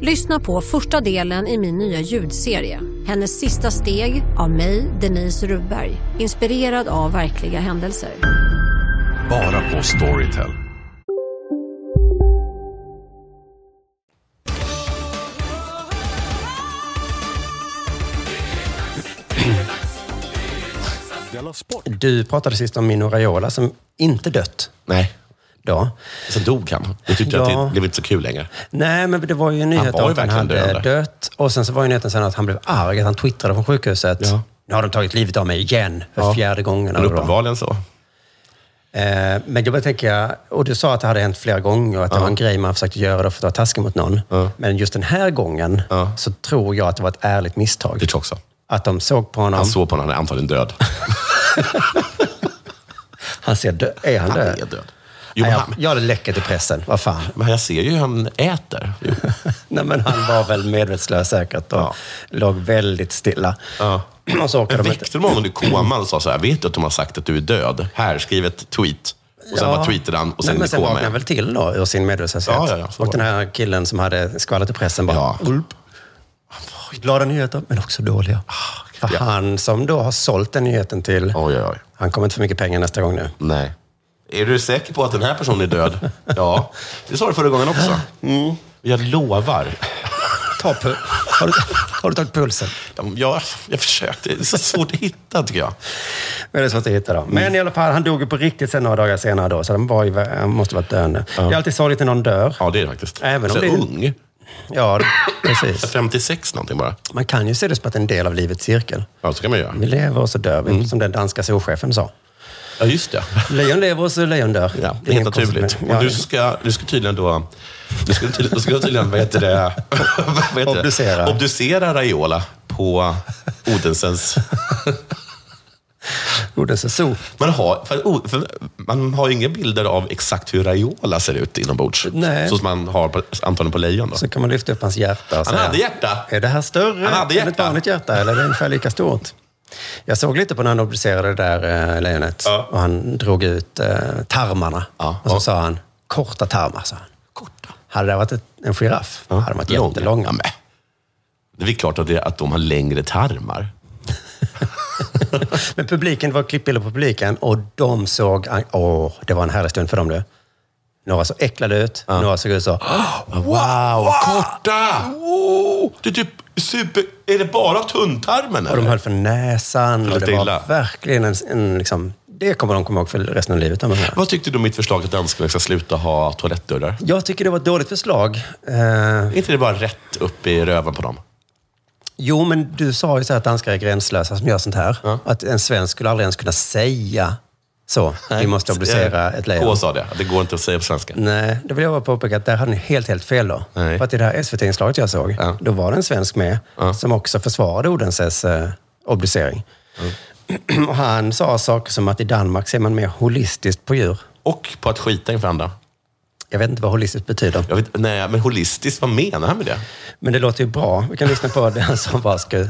[SPEAKER 6] Lyssna på första delen i min nya ljudserie. Hennes sista steg av mig, Denise Rubberg. Inspirerad av verkliga händelser.
[SPEAKER 7] Bara på Storytel.
[SPEAKER 3] Du pratade sist om Mino Raiola som inte dött
[SPEAKER 4] Nej,
[SPEAKER 3] då.
[SPEAKER 4] sen dog han. Jag tyckte att
[SPEAKER 3] Ja.
[SPEAKER 4] det blev inte så kul längre.
[SPEAKER 3] Nej, men det var ju en nyhet
[SPEAKER 4] var ju
[SPEAKER 3] om att han
[SPEAKER 4] verkligen
[SPEAKER 3] hade
[SPEAKER 4] döende.
[SPEAKER 3] dött. Och sen så var ju nyheten sen att han blev arg, att han twittrade från sjukhuset.
[SPEAKER 4] Ja.
[SPEAKER 3] Nu har de tagit livet av mig igen, för
[SPEAKER 4] Ja.
[SPEAKER 3] fjärde gången.
[SPEAKER 4] Men
[SPEAKER 3] eller vad det var.
[SPEAKER 4] uppenbarligen så.
[SPEAKER 3] Eh, men jag bara tänker, och du sa att det hade hänt flera gånger, att det var en grej man försökte göra då för att vara taskig mot någon. Men just den här gången
[SPEAKER 4] Ja.
[SPEAKER 3] så tror jag att det var ett ärligt
[SPEAKER 4] Det
[SPEAKER 3] misstag.
[SPEAKER 4] tror jag också.
[SPEAKER 3] Att de såg på honom.
[SPEAKER 4] Han såg på honom, han
[SPEAKER 3] (laughs)
[SPEAKER 4] är antagligen död.
[SPEAKER 3] Han ser dö- Är han,
[SPEAKER 4] Han
[SPEAKER 3] död?
[SPEAKER 4] är död.
[SPEAKER 3] Jo, jag, jag hade läcket i pressen. Vad fan.
[SPEAKER 4] Men jag ser ju hur han äter.
[SPEAKER 3] Nej, men han var väl medvetslös säkert och låg väldigt stilla.
[SPEAKER 4] Ja.
[SPEAKER 3] (clears throat) Och så åker
[SPEAKER 4] Jag
[SPEAKER 3] de
[SPEAKER 4] väckte honom i koman och sa så här, vet du att de har sagt att du är död? Här, skriv ett tweet. Och sen
[SPEAKER 3] Ja.
[SPEAKER 4] bara tweetade han och
[SPEAKER 3] Nej,
[SPEAKER 4] sen
[SPEAKER 3] men
[SPEAKER 4] i
[SPEAKER 3] sen
[SPEAKER 4] koma.
[SPEAKER 3] vaknade han
[SPEAKER 4] igen.
[SPEAKER 3] väl till då ur sin medvetslöshet.
[SPEAKER 4] Ja, ja, ja, så
[SPEAKER 3] och
[SPEAKER 4] var
[SPEAKER 3] den här killen som hade skvallrat i pressen bara... Ulp. Glada nyheter, men också dåliga.
[SPEAKER 4] Ah,
[SPEAKER 3] För han som då har sålt den nyheten till... Han kommer inte få mycket pengar nästa gång nu.
[SPEAKER 4] Nej. Är du säker på att den här personen
[SPEAKER 3] (laughs)
[SPEAKER 4] är död? ja, det sa du förra gången också. Jag lovar.
[SPEAKER 3] Mm. Ta pu- har, du, har du tagit pulsen?
[SPEAKER 4] Jag, jag försökte. Det är så svårt att hitta tycker jag.
[SPEAKER 3] Väldigt svårt att hitta dem.
[SPEAKER 4] Mm.
[SPEAKER 3] Men i alla fall, han dog ju på riktigt sen några dagar senare då. Så han, var ju, han måste varit döende. Det är alltid sorgligt när någon dör.
[SPEAKER 4] Ja, det är det faktiskt.
[SPEAKER 3] Även om
[SPEAKER 4] så
[SPEAKER 3] det är
[SPEAKER 4] ung.
[SPEAKER 3] Ja, precis.
[SPEAKER 4] 56 någonting bara.
[SPEAKER 3] Man kan ju se det som att det är en del av livets cirkel.
[SPEAKER 4] Ja, så kan man göra.
[SPEAKER 3] Vi lever och så dör
[SPEAKER 4] Mm.
[SPEAKER 3] vi, som den danska zoochefen sa.
[SPEAKER 4] Ja,
[SPEAKER 3] (laughs)
[SPEAKER 4] just det.
[SPEAKER 3] Lejon lever och så lejon dör. Ja,
[SPEAKER 4] Det är helt naturligt. Och nu ska, nu ska tydligen då... Nu ska tydligen, nu ska tydligen vad heter det? (laughs) Vad heter det?
[SPEAKER 3] Obducera.
[SPEAKER 4] Obducera Raiola på Odensens...
[SPEAKER 3] Odense zoo.
[SPEAKER 4] Man har, för, för, man har ju inga bilder av exakt hur Raiola ser ut inombords.
[SPEAKER 3] Nej.
[SPEAKER 4] Så som man har på, antagligen på lejon. Då.
[SPEAKER 3] Så kan man lyfta upp hans hjärta och
[SPEAKER 4] Han
[SPEAKER 3] säga,
[SPEAKER 4] hade hjärta.
[SPEAKER 3] Är det här större
[SPEAKER 4] Han hade
[SPEAKER 3] än
[SPEAKER 4] hjärta.
[SPEAKER 3] ett vanligt hjärta eller är det ungefär lika stort? Jag såg lite på när han obducerade det där eh, lejonet och han drog ut eh, tarmarna. Och så sa han, korta tarmar, sa han. Korta? Hade det varit ett, en giraff hade de varit
[SPEAKER 4] Långa.
[SPEAKER 3] jättelånga.
[SPEAKER 4] Ja, men. Det är väl klart att, det, att de har längre tarmar.
[SPEAKER 3] Men publiken, det var klippbilder på publiken och de såg... ah, Åh, det var en härlig stund för dem du. Några såg äcklade ut, några såg ut så... "Åh, wow!
[SPEAKER 4] Korta! Oh, det är typ super... Är det bara tunntarmen?
[SPEAKER 3] Och de
[SPEAKER 4] eller?
[SPEAKER 3] höll för näsan. Och
[SPEAKER 4] Lite
[SPEAKER 3] det
[SPEAKER 4] illa.
[SPEAKER 3] var verkligen en, en liksom, Det kommer de komma ihåg för resten av livet. De här.
[SPEAKER 4] Vad tyckte du om mitt förslag att danskarna ska sluta ha toalettdörrar?
[SPEAKER 3] Jag tycker det var ett dåligt förslag. Eh,
[SPEAKER 4] Är inte det bara rätt upp i röven på dem?
[SPEAKER 3] jo, men du sa ju så här att danskar är gränslösa som gör sånt här. Att en svensk skulle aldrig ens kunna säga så. Vi måste obducera ett lejon.
[SPEAKER 4] K sa det. Det går inte att säga på svenska.
[SPEAKER 3] Nej, det vill jag bara påpeka att där hade ni helt, helt fel då.
[SPEAKER 4] Nej.
[SPEAKER 3] För att i det här SVT-inslaget jag såg, då var det en svensk med som också försvarade Odenses eh, obducering. Och han sa saker som att i Danmark ser man mer holistiskt på djur.
[SPEAKER 4] Och på att skita inför andra.
[SPEAKER 3] Jag vet inte vad holistiskt betyder,
[SPEAKER 4] Jag vet, nej, men holistiskt, vad menar han med det?
[SPEAKER 3] men det låter ju bra. Vi kan lyssna på den som bara ska...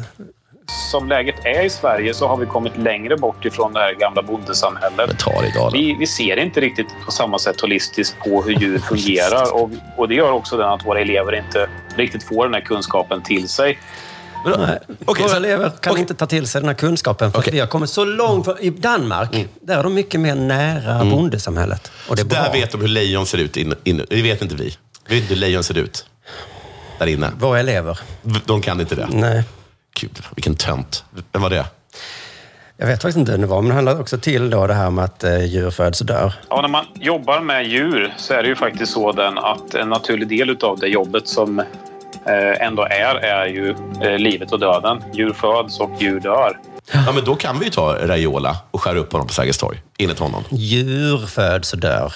[SPEAKER 8] Som läget är i Sverige så har vi kommit längre bort ifrån det här gamla bondesamhället.
[SPEAKER 4] Tar i dalen.
[SPEAKER 8] Vi, vi ser inte riktigt på samma sätt holistiskt på hur djur fungerar och, och det gör också den att våra elever inte riktigt får den här kunskapen till sig.
[SPEAKER 3] Nej.
[SPEAKER 4] Okej,
[SPEAKER 3] Våra
[SPEAKER 4] så-
[SPEAKER 3] elever kan inte ta till sig den här kunskapen för att vi har kommit så långt. För, I Danmark, där är de mycket mer nära bondesamhället. Och det är
[SPEAKER 4] Mm. Så där
[SPEAKER 3] bra.
[SPEAKER 4] vet de hur lejon ser ut. In, in, det vet inte vi. Vi vet inte hur lejon ser ut. Där inne.
[SPEAKER 3] Våra elever.
[SPEAKER 4] De kan inte det.
[SPEAKER 3] Nej.
[SPEAKER 4] Gud, vilken tönt. Vem var det?
[SPEAKER 3] Jag vet faktiskt inte hur det var, men det handlar också till då det här med att eh, djur föds och dör.
[SPEAKER 8] Ja, när man jobbar med djur så är det ju faktiskt så den att en naturlig del av det jobbet som eh, ändå är, är ju eh, livet och döden. Djur föds och djur dör.
[SPEAKER 4] Ja, men då kan vi ju ta Raiola och skära upp honom på Sergels torg. Enligt honom.
[SPEAKER 3] Djur föds och dör.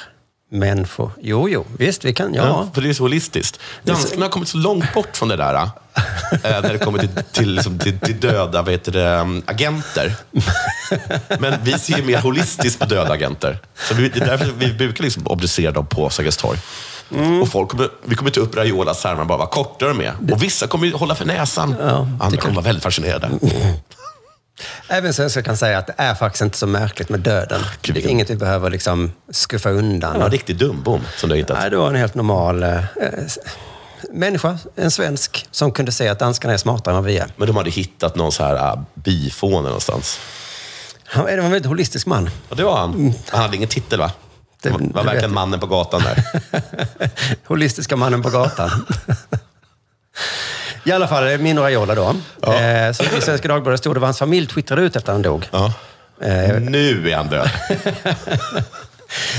[SPEAKER 3] Människor. Jo, jo, visst, vi kan. Ja.
[SPEAKER 4] För det är så holistiskt. Danskarna har kommit så långt bort från det där. eh, när det kommer till, till, liksom, till, till döda vad heter det, um, agenter. Men vi ser ju mer holistiskt på döda agenter. Så vi, det är därför vi brukar liksom obducera dem på Sergels torg. Och folk kommer, vi kommer ta upp Raiolas härmar bara, vad korta de är. Och vissa kommer ju hålla för näsan. Andra kommer vara väldigt fascinerade.
[SPEAKER 3] Även svenskar kan säga att det är faktiskt inte så märkligt med döden.
[SPEAKER 4] Gud,
[SPEAKER 3] Det är
[SPEAKER 4] vilken-
[SPEAKER 3] inget vi behöver liksom skuffa undan.
[SPEAKER 4] Han var en riktig dumbom som du har hittat.
[SPEAKER 3] Nej, det var en helt normal eh, eh, människa, en svensk, som kunde säga att danskarna är smartare än vad vi är.
[SPEAKER 4] Men de hade hittat någon så här uh, bifåne någonstans.
[SPEAKER 3] Han var en väldigt holistisk man. (laughs)
[SPEAKER 4] Och det var han. Han hade ingen titel va? Det var,
[SPEAKER 3] Mm. det
[SPEAKER 4] var
[SPEAKER 3] vet jag.
[SPEAKER 4] verkligen mannen på gatan där.
[SPEAKER 3] (laughs) Holistiska mannen på gatan. (laughs) I alla fall, det är Mino Raiola då. Eh, som I Svenska Dagbladet stod det vad hans familj twittrade ut efter han dog.
[SPEAKER 4] Ja.
[SPEAKER 3] Eh.
[SPEAKER 4] Nu är han död.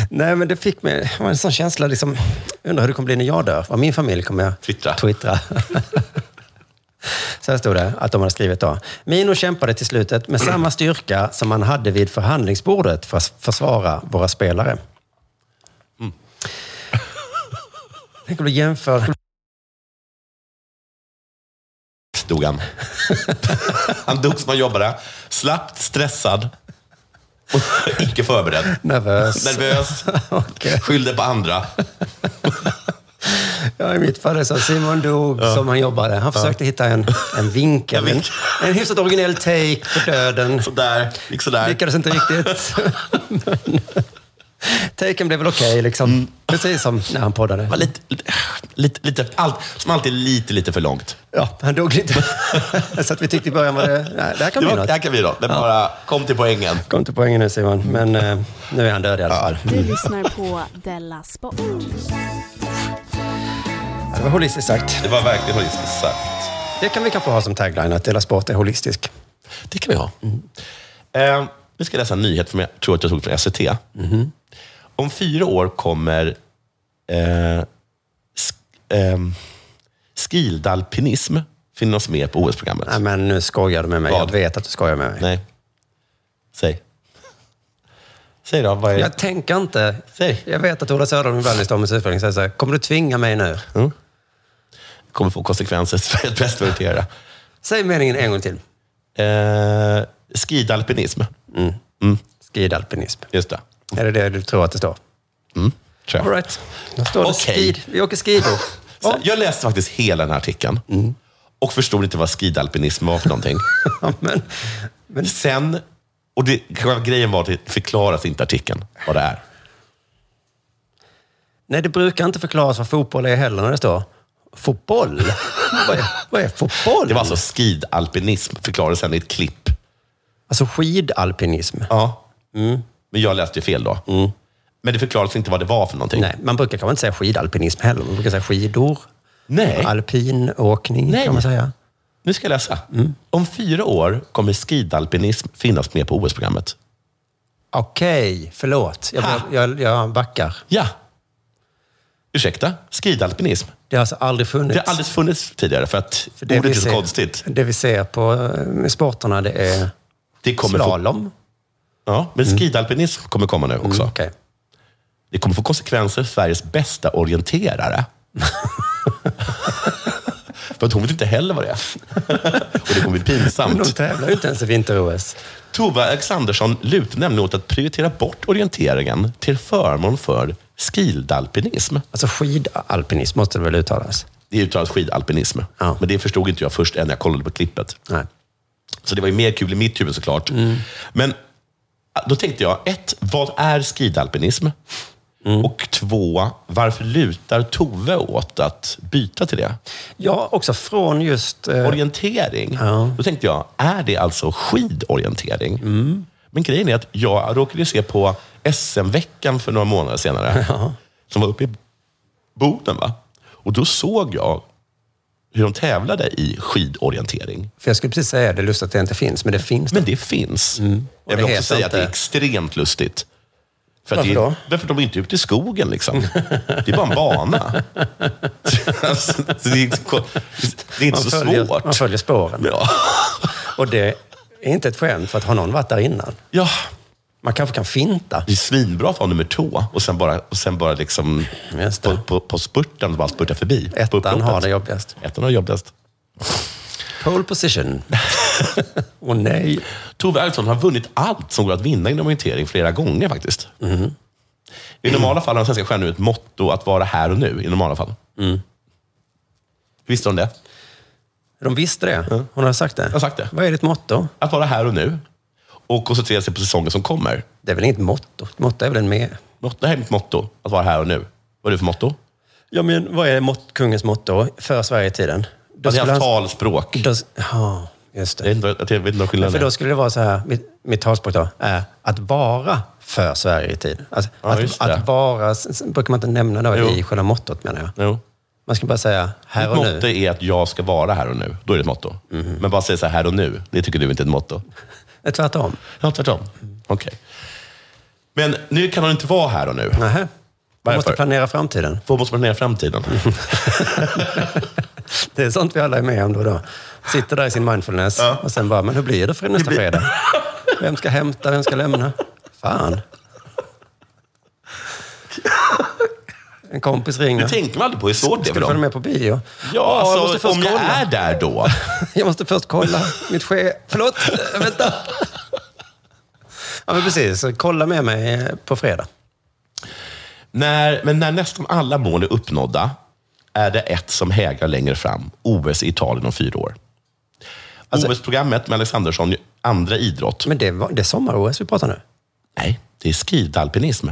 [SPEAKER 3] Nej, men det fick mig det var en sån känsla. Liksom, undrar hur det kommer bli när jag dör. Vad min familj kommer jag
[SPEAKER 4] Twittra.
[SPEAKER 3] twittra. (laughs) Så här stod det att de hade skrivit då. Mino kämpade till slutet med samma styrka som han hade vid förhandlingsbordet för att försvara våra spelare. Tänk om du jämför (laughs)
[SPEAKER 4] Dog han. Han dog som han jobbade. Slappt, stressad. Icke förberedd.
[SPEAKER 3] Nervös. (laughs)
[SPEAKER 4] Nervös. Skyllde på andra.
[SPEAKER 3] Ja, i mitt fall är det så att Simon dog som han jobbade. Han försökte hitta en, en
[SPEAKER 4] (laughs)
[SPEAKER 3] vinkel. En, en hyfsat originell take på döden.
[SPEAKER 4] Sådär. Gick sådär.
[SPEAKER 3] Lyckades inte
[SPEAKER 4] (laughs)
[SPEAKER 3] riktigt. Men Taken blev väl okej, liksom. Precis som när han poddade.
[SPEAKER 4] Mm. Var lite, lite, lite, allt, som alltid lite, lite för långt.
[SPEAKER 3] Ja, han dog
[SPEAKER 4] (laughs)
[SPEAKER 3] lite. så att vi tyckte i början var det... Nej, det här kan
[SPEAKER 4] Det
[SPEAKER 3] bli
[SPEAKER 4] var-
[SPEAKER 3] något.
[SPEAKER 4] det här Mm. kan bli något. Men bara kom till poängen.
[SPEAKER 3] Kom till poängen nu Simon, men eh, nu är han död i alla fall.
[SPEAKER 9] Du lyssnar på Della Sport.
[SPEAKER 3] Det var holistiskt sagt.
[SPEAKER 4] Det var verkligen holistiskt sagt.
[SPEAKER 3] Det kan vi kanske ha som tagline, att Dela Sport är holistisk.
[SPEAKER 4] Det kan vi ha. Eh, vi ska läsa en nyhet som jag tror att jag tog från SVT. Om fyra år kommer eh, sk, ehm, skidalpinism finnas med på OS-programmet.
[SPEAKER 3] Nej, men nu skojar du med mig.
[SPEAKER 4] Vad?
[SPEAKER 3] Jag vet att du skojar med mig.
[SPEAKER 4] Nej. Säg. Säg då, vad är
[SPEAKER 3] Jag tänker inte.
[SPEAKER 4] Säg.
[SPEAKER 3] Jag vet att Ola Söderholm ibland i Stormens utveckling säger så här, kommer du tvinga mig nu?
[SPEAKER 4] Mm. kommer få konsekvenser för ett bäst prioritera.
[SPEAKER 3] Säg meningen en gång till.
[SPEAKER 4] Eh, skidalpinism.
[SPEAKER 3] Mm.
[SPEAKER 4] Mm.
[SPEAKER 3] Skidalpinism.
[SPEAKER 4] Just det.
[SPEAKER 3] Är det det du tror att det står?
[SPEAKER 4] Mm, tror jag.
[SPEAKER 3] All right. Då står det
[SPEAKER 4] Okej.
[SPEAKER 3] skid. Vi åker skidor.
[SPEAKER 4] (laughs) Så Jag läste faktiskt hela den här artikeln och förstod inte vad skidalpinism var för någonting.
[SPEAKER 3] (laughs) men,
[SPEAKER 4] Sen, och det, själva grejen var att det förklaras inte i artikeln vad det är.
[SPEAKER 3] Nej, det brukar inte förklaras vad fotboll är heller när det står
[SPEAKER 4] (laughs)
[SPEAKER 3] fotboll. vad, är, vad är fotboll?
[SPEAKER 4] Det var alltså skidalpinism, förklarades sen i ett klipp.
[SPEAKER 3] Alltså skidalpinism.
[SPEAKER 4] Ja.
[SPEAKER 3] Mm.
[SPEAKER 4] Men jag läste ju fel då. Men det förklarades inte vad det var för någonting.
[SPEAKER 3] Nej, man brukar kanske inte säga skidalpinism heller. Man brukar säga skidor.
[SPEAKER 4] Nej.
[SPEAKER 3] Alpinåkning
[SPEAKER 4] Nej.
[SPEAKER 3] kan man säga.
[SPEAKER 4] Nu ska jag läsa.
[SPEAKER 3] Mm.
[SPEAKER 4] Om fyra år kommer skidalpinism finnas med på OS-programmet.
[SPEAKER 3] Okej, förlåt. Jag,
[SPEAKER 4] Ha.
[SPEAKER 3] jag, jag backar.
[SPEAKER 4] Ja. Ursäkta? Skidalpinism?
[SPEAKER 3] Det har alltså aldrig funnits.
[SPEAKER 4] Det har aldrig funnits tidigare för att
[SPEAKER 3] För det
[SPEAKER 4] ordet är
[SPEAKER 3] vi
[SPEAKER 4] så
[SPEAKER 3] ser-
[SPEAKER 4] konstigt.
[SPEAKER 3] Det vi ser på eh, sporterna, det är
[SPEAKER 4] Det kommer få-
[SPEAKER 3] slalom.
[SPEAKER 4] Ja, men skidalpinism kommer komma nu också.
[SPEAKER 3] Mm, okej.
[SPEAKER 4] Det kommer få konsekvenser för Sveriges
[SPEAKER 3] (laughs)
[SPEAKER 4] bästa orienterare. för att hon vet inte
[SPEAKER 3] (laughs)
[SPEAKER 4] heller vad det är. Och det kommer bli
[SPEAKER 3] Men de
[SPEAKER 4] pinsamt.
[SPEAKER 3] tävlar ju inte ens i vinter-OS.
[SPEAKER 4] Tova Alexandersson lutar nämligen åt att prioritera bort orienteringen till förmån för skidalpinism.
[SPEAKER 3] Alltså skidalpinism måste det väl uttalas?
[SPEAKER 4] Det uttalas skidalpinism,
[SPEAKER 3] Ja.
[SPEAKER 4] men det förstod inte jag först än när jag kollade på klippet.
[SPEAKER 3] Nej.
[SPEAKER 4] Så det var ju mer kul i mitt huvud såklart.
[SPEAKER 3] Mm.
[SPEAKER 4] Men ah, då tänkte jag, ett, vad är skidalpinism?
[SPEAKER 3] Mm.
[SPEAKER 4] Och två, varför lutar Tove åt att byta till det?
[SPEAKER 3] Ja, också från just... eh,
[SPEAKER 4] Orientering.
[SPEAKER 3] Ja.
[SPEAKER 4] Då tänkte jag, är det alltså skidorientering?
[SPEAKER 3] Mm.
[SPEAKER 4] Men grejen är att jag råkade ju se på SM-veckan för några månader senare, som var uppe i Boden. Va? Och då såg jag hur de tävlade i skidorientering.
[SPEAKER 3] För jag skulle precis säga det, lustigt att det inte finns, men det finns.
[SPEAKER 4] Men det finns.
[SPEAKER 3] Mm. Och
[SPEAKER 4] Jag
[SPEAKER 3] det
[SPEAKER 4] vill också
[SPEAKER 3] heter
[SPEAKER 4] säga att det är
[SPEAKER 3] inte-
[SPEAKER 4] extremt lustigt. För
[SPEAKER 3] Varför
[SPEAKER 4] det är,
[SPEAKER 3] då?
[SPEAKER 4] Därför de är inte ute i skogen.
[SPEAKER 3] (laughs)
[SPEAKER 4] Liksom. Det är bara en bana. alltså, det är, det är inte
[SPEAKER 3] Man
[SPEAKER 4] så
[SPEAKER 3] följer-
[SPEAKER 4] svårt.
[SPEAKER 3] Man följer spåren.
[SPEAKER 4] Ja.
[SPEAKER 3] Och det är inte ett skämt, för att har någon varit där innan?
[SPEAKER 4] ja,
[SPEAKER 3] Man kanske kan finta.
[SPEAKER 4] det är svinbra att vara nummer två och sen bara, och sen bara liksom
[SPEAKER 3] Just det.
[SPEAKER 4] på, på, på spurten bara spurta förbi. på
[SPEAKER 3] Ettan
[SPEAKER 4] upploppet.
[SPEAKER 3] har det jobbigast.
[SPEAKER 4] Ettan har det jobbigast.
[SPEAKER 3] Pole position. (laughs) Åh nej.
[SPEAKER 4] Tove Alfredsson har vunnit allt som går att vinna inom orientering flera gånger faktiskt. Mm. I normala fall har den svenska stjärnan ett motto att vara här och nu. I normala fall.
[SPEAKER 3] Mm.
[SPEAKER 4] Visste hon det?
[SPEAKER 3] De visste det. Hon har sagt det.
[SPEAKER 4] har sagt det.
[SPEAKER 3] Vad är ditt motto?
[SPEAKER 4] Att vara här och nu och koncentrera sig på säsongen som kommer.
[SPEAKER 3] Det är väl inget motto? Ett Motto är väl en med...
[SPEAKER 4] Motto- Det här är mitt motto, att vara här och nu. Vad är det för motto?
[SPEAKER 3] Ja, men vad är mot, kungens motto för Sverigetiden? Då
[SPEAKER 4] Att det är
[SPEAKER 3] skulle
[SPEAKER 4] hans
[SPEAKER 3] han-
[SPEAKER 4] Alltså, talspråk.
[SPEAKER 3] då s- Ja, just
[SPEAKER 4] Jag vet
[SPEAKER 3] det.
[SPEAKER 4] inte vad- jag vet inte
[SPEAKER 3] För
[SPEAKER 4] vad skillnaden
[SPEAKER 3] då
[SPEAKER 4] är.
[SPEAKER 3] skulle det vara så här, mitt, mitt talspråk då, är att vara för Sverigetiden. Alltså,
[SPEAKER 4] Ja, just
[SPEAKER 3] att,
[SPEAKER 4] det.
[SPEAKER 3] att vara, s- s- brukar man inte nämna då
[SPEAKER 4] Jo.
[SPEAKER 3] i själva mottot menar jag.
[SPEAKER 4] Jo.
[SPEAKER 3] Man ska bara säga här
[SPEAKER 4] Mitt
[SPEAKER 3] och
[SPEAKER 4] motto
[SPEAKER 3] nu. Mhm.
[SPEAKER 4] är att jag ska vara här och nu. Då är det ett motto. Men bara säga så här här och nu, det tycker du inte är ett motto.
[SPEAKER 3] Nej, Tvärtom.
[SPEAKER 4] Ja, tvärtom. Okej. Men nu kan hon inte vara här och nu.
[SPEAKER 3] Nähä. Man måste
[SPEAKER 4] Varför?
[SPEAKER 3] planera framtiden.
[SPEAKER 4] För måste man
[SPEAKER 3] (laughs)
[SPEAKER 4] planera framtiden.
[SPEAKER 3] Det är sånt vi alla är med om då och då. Sitter där i sin mindfulness
[SPEAKER 4] Ja.
[SPEAKER 3] och sen bara, men hur blir det för nästa
[SPEAKER 4] blir-
[SPEAKER 3] fredag? Vem ska hämta, vem ska lämna? Fan. En kompis ringer.
[SPEAKER 4] Det tänker man aldrig på hur svårt det är
[SPEAKER 3] Ska
[SPEAKER 4] för
[SPEAKER 3] du följa
[SPEAKER 4] dem.
[SPEAKER 3] med på bio?
[SPEAKER 4] Ja,
[SPEAKER 3] jag måste
[SPEAKER 4] alltså,
[SPEAKER 3] först
[SPEAKER 4] om jag
[SPEAKER 3] kolla.
[SPEAKER 4] är
[SPEAKER 3] (laughs)
[SPEAKER 4] där då.
[SPEAKER 3] Jag måste först kolla mitt ske... Förlåt, äh, vänta. Ja, men precis. Så kolla med mig på fredag.
[SPEAKER 4] När, men när nästan alla mål är uppnådda är det ett som hägrar längre fram. OS i Italien om fyra år. OS-programmet med Alexandersson, andra idrott.
[SPEAKER 3] Alltså- Men det, var, det är sommar-OS vi pratar nu?
[SPEAKER 4] Nej, det är skidalpinism.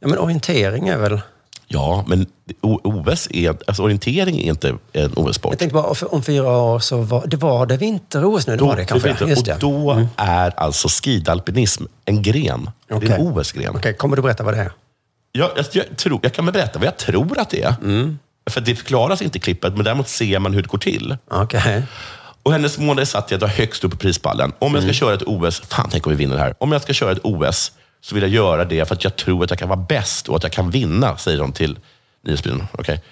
[SPEAKER 3] Ja, men orientering är väl...
[SPEAKER 4] Ja, men O- OS är, alltså orientering är inte en OS-sport.
[SPEAKER 3] Jag tänkte bara, för- om fyra år så var det, var det vinter-OS nu? Det
[SPEAKER 4] Då-
[SPEAKER 3] var det kanske?
[SPEAKER 4] precis,
[SPEAKER 3] Just det. Mm.
[SPEAKER 4] och då är alltså skidalpinism en gren. Det är en OS-gren.
[SPEAKER 3] Okej, kommer du berätta vad det är?
[SPEAKER 4] Jag, jag, jag, tror, jag kan väl berätta vad jag tror att det är.
[SPEAKER 3] Mm.
[SPEAKER 4] För det förklaras inte i klippet, men däremot ser man hur det går till.
[SPEAKER 3] Okej.
[SPEAKER 4] Och hennes mål är satt i att vara högst upp på prispallen. Om jag ska köra ett OS, fan tänk om vi vinner det här. Om jag ska köra ett OS så vill jag göra det för att jag tror att jag kan vara bäst och att jag kan vinna, säger hon till nyhetsbyrån. Okej.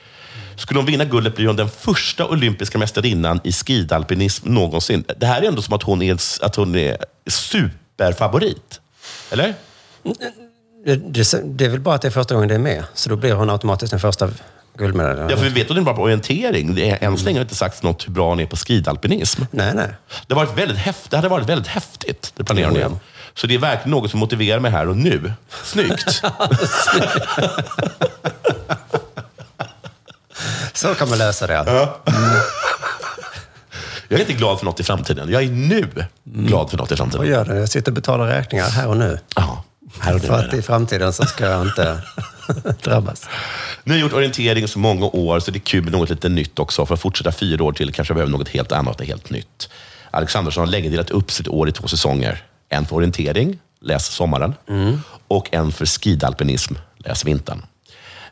[SPEAKER 4] Skulle hon vinna guldet blir hon den första olympiska mästarinnan i skidalpinism någonsin. Det här är ändå som att hon är, att hon är superfavorit. Eller?
[SPEAKER 3] Det, det, det är väl bara att det är första gången det är med, så då blir hon automatiskt den första guldmedaljen.
[SPEAKER 4] Ja, för vi vet att hon är bra på orientering. Det är, än så länge har det inte sagts något hur bra hon är på skidalpinism.
[SPEAKER 3] Nej, nej.
[SPEAKER 4] Det, har varit väldigt häft, det hade varit väldigt häftigt, det planerar hon
[SPEAKER 3] Jo, ja.
[SPEAKER 4] igen. Så det är verkligen något som motiverar mig här och nu.
[SPEAKER 3] (laughs)
[SPEAKER 4] Snyggt!
[SPEAKER 3] Så kan man lösa det.
[SPEAKER 4] Jag är inte glad för något i framtiden. Jag är nu glad för något i
[SPEAKER 3] Mm. Vad
[SPEAKER 4] framtiden.
[SPEAKER 3] gör det? Jag sitter och betalar räkningar här och nu.
[SPEAKER 4] Ja, här och nu
[SPEAKER 3] För
[SPEAKER 4] är
[SPEAKER 3] att
[SPEAKER 4] det.
[SPEAKER 3] i framtiden så ska jag
[SPEAKER 4] (laughs)
[SPEAKER 3] inte drabbas.
[SPEAKER 4] Nu har jag gjort orientering i så många år, så det är kul med något lite nytt också. För att fortsätta fyra år till kanske jag behöver något helt annat och helt nytt. Alexandersson har länge delat upp sitt år i två säsonger. En för orientering, läs sommaren,
[SPEAKER 3] Mm.
[SPEAKER 4] och en för skidalpinism, läs vintern.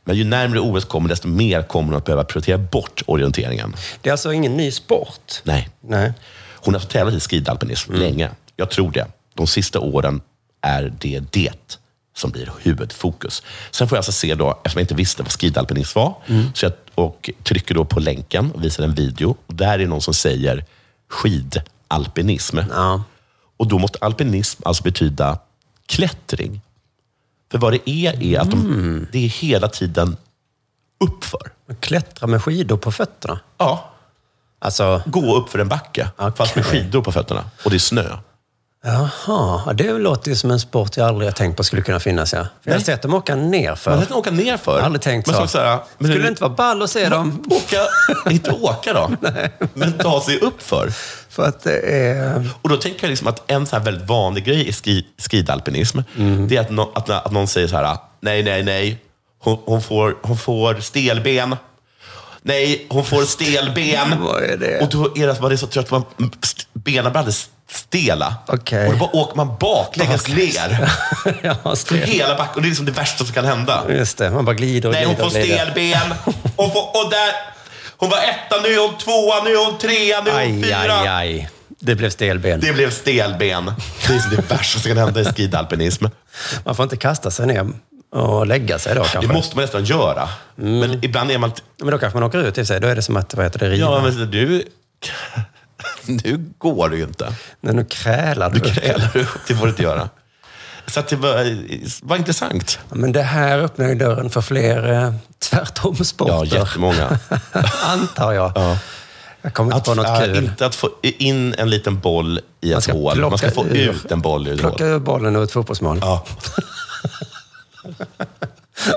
[SPEAKER 4] Men ju närmare OS kommer, desto mer kommer hon att behöva prioritera bort orienteringen.
[SPEAKER 3] Det är alltså ingen ny sport?
[SPEAKER 4] Nej.
[SPEAKER 3] Nej.
[SPEAKER 4] Hon har alltså tävlat i skidalpinism länge. Jag tror det. De sista åren är det det som blir huvudfokus. Sen får jag alltså se, då, eftersom jag inte visste vad skidalpinism var, så jag, och trycker då på länken och visar en video. Och där är någon som säger skidalpinism.
[SPEAKER 3] Ja.
[SPEAKER 4] Och då måste alpinism alltså betyda klättring. För vad det är, är att de, det är hela tiden uppför.
[SPEAKER 3] Klättra med skidor på fötterna?
[SPEAKER 4] Ja.
[SPEAKER 3] Alltså,
[SPEAKER 4] Gå upp för en backe, fast med skidor på fötterna. Och det är snö.
[SPEAKER 3] jaha. Ja, Det låter ju som en sport jag aldrig har tänkt på skulle kunna finnas. Ja. För jag har
[SPEAKER 4] Nej.
[SPEAKER 3] sett dem åka ner
[SPEAKER 4] Man
[SPEAKER 3] för.
[SPEAKER 4] hade inte åka ner för.
[SPEAKER 3] Jag har aldrig tänkt
[SPEAKER 4] men
[SPEAKER 3] så.
[SPEAKER 4] så. här, men
[SPEAKER 3] Skulle
[SPEAKER 4] hur-
[SPEAKER 3] det inte vara ball att se dem?
[SPEAKER 4] Åka,
[SPEAKER 3] (laughs)
[SPEAKER 4] inte åka då, men ta sig upp för.
[SPEAKER 3] För att det är...
[SPEAKER 4] Och då tänker jag liksom att en så här väldigt vanlig grej i ski, skidalpinism,
[SPEAKER 3] Mm.
[SPEAKER 4] det är att, nå- att, att någon säger så här, nej, nej, nej, hon, hon, får, hon får stelben. Nej,
[SPEAKER 3] (laughs)
[SPEAKER 4] hon får stelben.
[SPEAKER 3] Vad är det?
[SPEAKER 4] Och då är det att man är så trött, man, st- benen blir alldeles stela.
[SPEAKER 3] Okej.
[SPEAKER 4] Och då bara åker man baklänges
[SPEAKER 3] Baklänges. (laughs)
[SPEAKER 4] ner.
[SPEAKER 3] (laughs) ja,
[SPEAKER 4] För
[SPEAKER 3] stel.
[SPEAKER 4] hela backen. Och det är liksom det värsta som kan hända.
[SPEAKER 3] Just det, man bara glider och
[SPEAKER 4] Nej, hon
[SPEAKER 3] glider
[SPEAKER 4] får
[SPEAKER 3] och glider.
[SPEAKER 4] stelben. Hon får, och där, hon var etta, nu är hon tvåa, nu är hon trea, nu är hon
[SPEAKER 3] Aj,
[SPEAKER 4] fyra.
[SPEAKER 3] aj, aj. Det blev stelben.
[SPEAKER 4] Det blev stelben. Det är så det värsta som kan hända i skidalpinism.
[SPEAKER 3] Man får inte kasta sig ner och lägga sig då
[SPEAKER 4] Det
[SPEAKER 3] kanske.
[SPEAKER 4] måste man nästan göra.
[SPEAKER 3] Mm.
[SPEAKER 4] Men ibland är man... t-
[SPEAKER 3] Men då kanske man åker ut i sig. Då är det som att, vad heter det, riva.
[SPEAKER 4] Ja, men du... (laughs) Nu går det ju inte.
[SPEAKER 3] Nej, nu krälar du.
[SPEAKER 4] Du krälar upp, det får du inte göra. Så att det var, var intressant.
[SPEAKER 3] Ja, Men det här öppnar ju dörren för fler eh, tvärtomsporter.
[SPEAKER 4] Ja, jättemånga.
[SPEAKER 3] (laughs) Antar jag.
[SPEAKER 4] Ja.
[SPEAKER 3] Jag kommer inte
[SPEAKER 4] Att,
[SPEAKER 3] på något
[SPEAKER 4] äh,
[SPEAKER 3] kul.
[SPEAKER 4] inte att få in en liten boll i ett
[SPEAKER 3] ska
[SPEAKER 4] hål. Man ska
[SPEAKER 3] plocka
[SPEAKER 4] få
[SPEAKER 3] ur-
[SPEAKER 4] ut en boll ur ett
[SPEAKER 3] Plocka
[SPEAKER 4] hål.
[SPEAKER 3] ur bollen ur ett fotbollsmål.
[SPEAKER 4] Ja.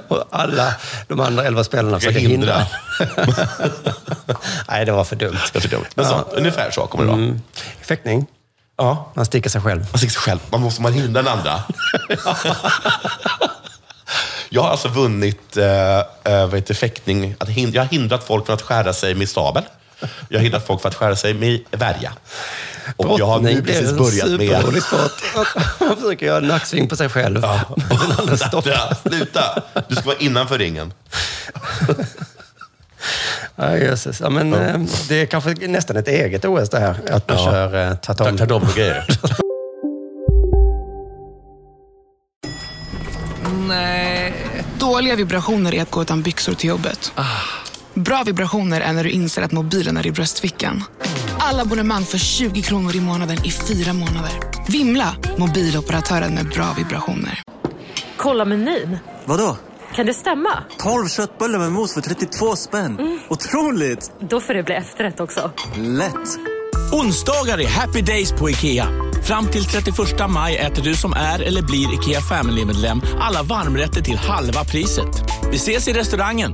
[SPEAKER 3] Och alla de andra elva spelarna
[SPEAKER 4] Försöka
[SPEAKER 3] försöker hindra. (laughs) Nej, det var för dumt.
[SPEAKER 4] (laughs) Det är för dumt. Men sånt, ungefär så kommer det vara.
[SPEAKER 3] Mm. Fäktning.
[SPEAKER 4] Ja.
[SPEAKER 3] Man sticker sig själv.
[SPEAKER 4] Man ser sig själv. Man måste man hindra den andra. (laughs) jag har alltså vunnit eh, eh, vad heter, fäktning. Att hin- jag har hindrat folk från att skära sig med sabel. Jag har hindrat folk från att skära sig med värja. Och jag har nu
[SPEAKER 3] Brottning, det är
[SPEAKER 4] precis
[SPEAKER 3] en
[SPEAKER 4] börjat med...
[SPEAKER 3] superrolig (laughs) sport. Man försöker göra en nacksving på sig själv.
[SPEAKER 4] (laughs) (laughs) Ja.
[SPEAKER 3] Och (laughs) den andra stoppar.
[SPEAKER 4] Sluta, sluta! Du ska vara innanför ringen.
[SPEAKER 3] Ja, jösses. Ja, men, eh, Det är kanske nästan ett eget OS det här. Att man
[SPEAKER 4] Ja.
[SPEAKER 3] kör eh,
[SPEAKER 4] Tack,
[SPEAKER 3] tartom.
[SPEAKER 4] tack, och grejer.
[SPEAKER 10] Dåliga vibrationer är att gå utan byxor till jobbet. Bra vibrationer är när du inser att mobilen är i bröstfickan. Alla abonnemang för 20 kronor i månaden i fyra månader. Vimla! Mobiloperatören med bra vibrationer.
[SPEAKER 11] Kolla menyn.
[SPEAKER 12] Vadå?
[SPEAKER 11] Kan det stämma? Mm.
[SPEAKER 12] 12 köttbullar med mos för 32 spänn. Otroligt!
[SPEAKER 11] Då får det bli efterrätt också.
[SPEAKER 12] Lätt!
[SPEAKER 13] Onsdagar är happy days på IKEA. Fram till 31 maj äter du som är eller blir IKEA Family-medlem alla varmrätter till halva priset. Vi ses i restaurangen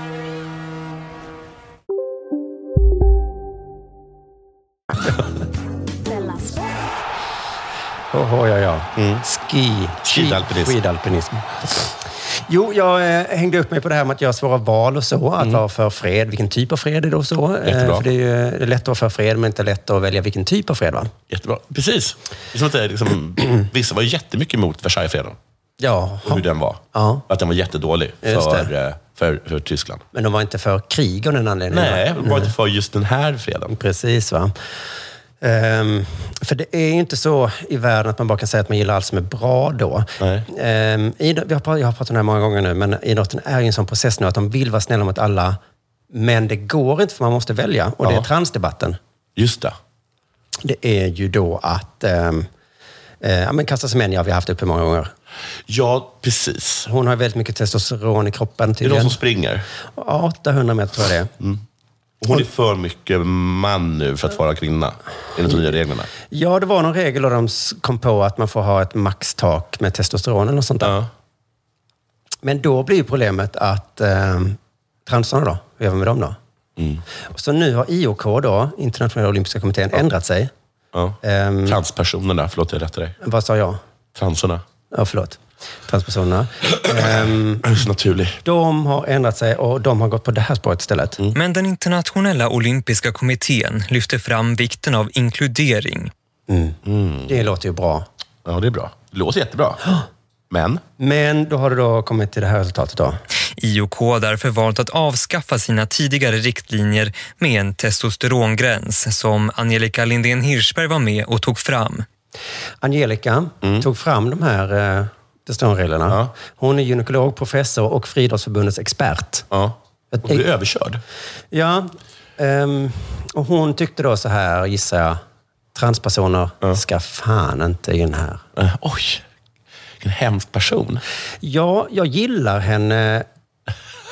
[SPEAKER 3] Oho, Oh, ja, ja.
[SPEAKER 4] Mm.
[SPEAKER 3] Ski. Skidalpinism. Skidalpinism. Jo, jag eh, hängde upp mig på det här med att göra svåra val och så. Att vara för fred. Vilken typ av fred är det och så? Eh,
[SPEAKER 4] Mm. Jättebra.
[SPEAKER 3] För det är ju eh, det är lätt att vara för fred, men inte lätt att välja vilken typ av fred, va?
[SPEAKER 4] (laughs) Jättebra. Precis. Det är som att det är liksom, (clears throat) vissa var ju jättemycket emot Versaillesfreden
[SPEAKER 3] Ja.
[SPEAKER 4] och hur den var.
[SPEAKER 3] Ja.
[SPEAKER 4] Att den var jättedålig
[SPEAKER 3] Just
[SPEAKER 4] för, eh, för, för Tyskland.
[SPEAKER 3] Men de var inte för krig av den anledningen?
[SPEAKER 4] Nej, de var inte
[SPEAKER 3] för just den här freden. Precis, va. Ehm, för det är ju inte så i världen att man bara kan säga att man gillar allt som är bra då. Ehm, idrott, vi har, pra- jag har pratat om det här många gånger nu, men idrotten är ju en sån process nu att de vill vara snälla mot alla, men det går inte för man måste välja. Och det är
[SPEAKER 4] Ja.
[SPEAKER 3] transdebatten.
[SPEAKER 4] Just det.
[SPEAKER 3] Det är ju då att ehm, eh, ja, men Kasta Semenya har vi haft uppe många gånger.
[SPEAKER 4] Ja, precis.
[SPEAKER 3] Hon har väldigt mycket testosteron i kroppen
[SPEAKER 4] Det är de
[SPEAKER 3] tydligen.
[SPEAKER 4] som springer.
[SPEAKER 3] Ja, 800 meter tror jag det är.
[SPEAKER 4] Och Hon är för mycket man nu för att vara kvinna, enligt de nya reglerna.
[SPEAKER 3] Ja, det var någon regel och de s- kom på att man får ha ett maxtak med testosteron eller något sånt där. Men då blir ju problemet att eh, transarna då, hur gör vi med dem då? Så nu har IOK då, Internationella Olympiska Kommittén, ändrat sig.
[SPEAKER 4] Ja.
[SPEAKER 3] Ehm.
[SPEAKER 4] Transpersonerna, förlåt jag rättade dig.
[SPEAKER 3] Vad sa jag?
[SPEAKER 4] Transorna.
[SPEAKER 3] Ja, förlåt. Transpersonerna. Ehm, de har ändrat sig och de har gått på det här spåret istället.
[SPEAKER 4] Mm.
[SPEAKER 14] Men den internationella olympiska kommittén lyfter fram vikten av inkludering.
[SPEAKER 3] Det låter ju bra.
[SPEAKER 4] Ja, det är bra. Det
[SPEAKER 3] (gasps)
[SPEAKER 4] låter jättebra. Men?
[SPEAKER 3] Men då har det då kommit till det här resultatet då.
[SPEAKER 14] IOK har därför valt att avskaffa sina tidigare riktlinjer med en testosterongräns som Angelica Lindén Hirschberg var med och tog fram.
[SPEAKER 3] Angelica tog fram de här eh, testosteronreglerna. Hon är gynekolog, professor och Friidrottsförbundets expert.
[SPEAKER 4] Ja.
[SPEAKER 3] Ett,
[SPEAKER 4] Hon blev överkörd.
[SPEAKER 3] Ja. ehm, och hon tyckte då så här, gissar jag, transpersoner ska fan inte in här.
[SPEAKER 4] Eh, oj, vilken hemsk person.
[SPEAKER 3] Ja, jag gillar henne.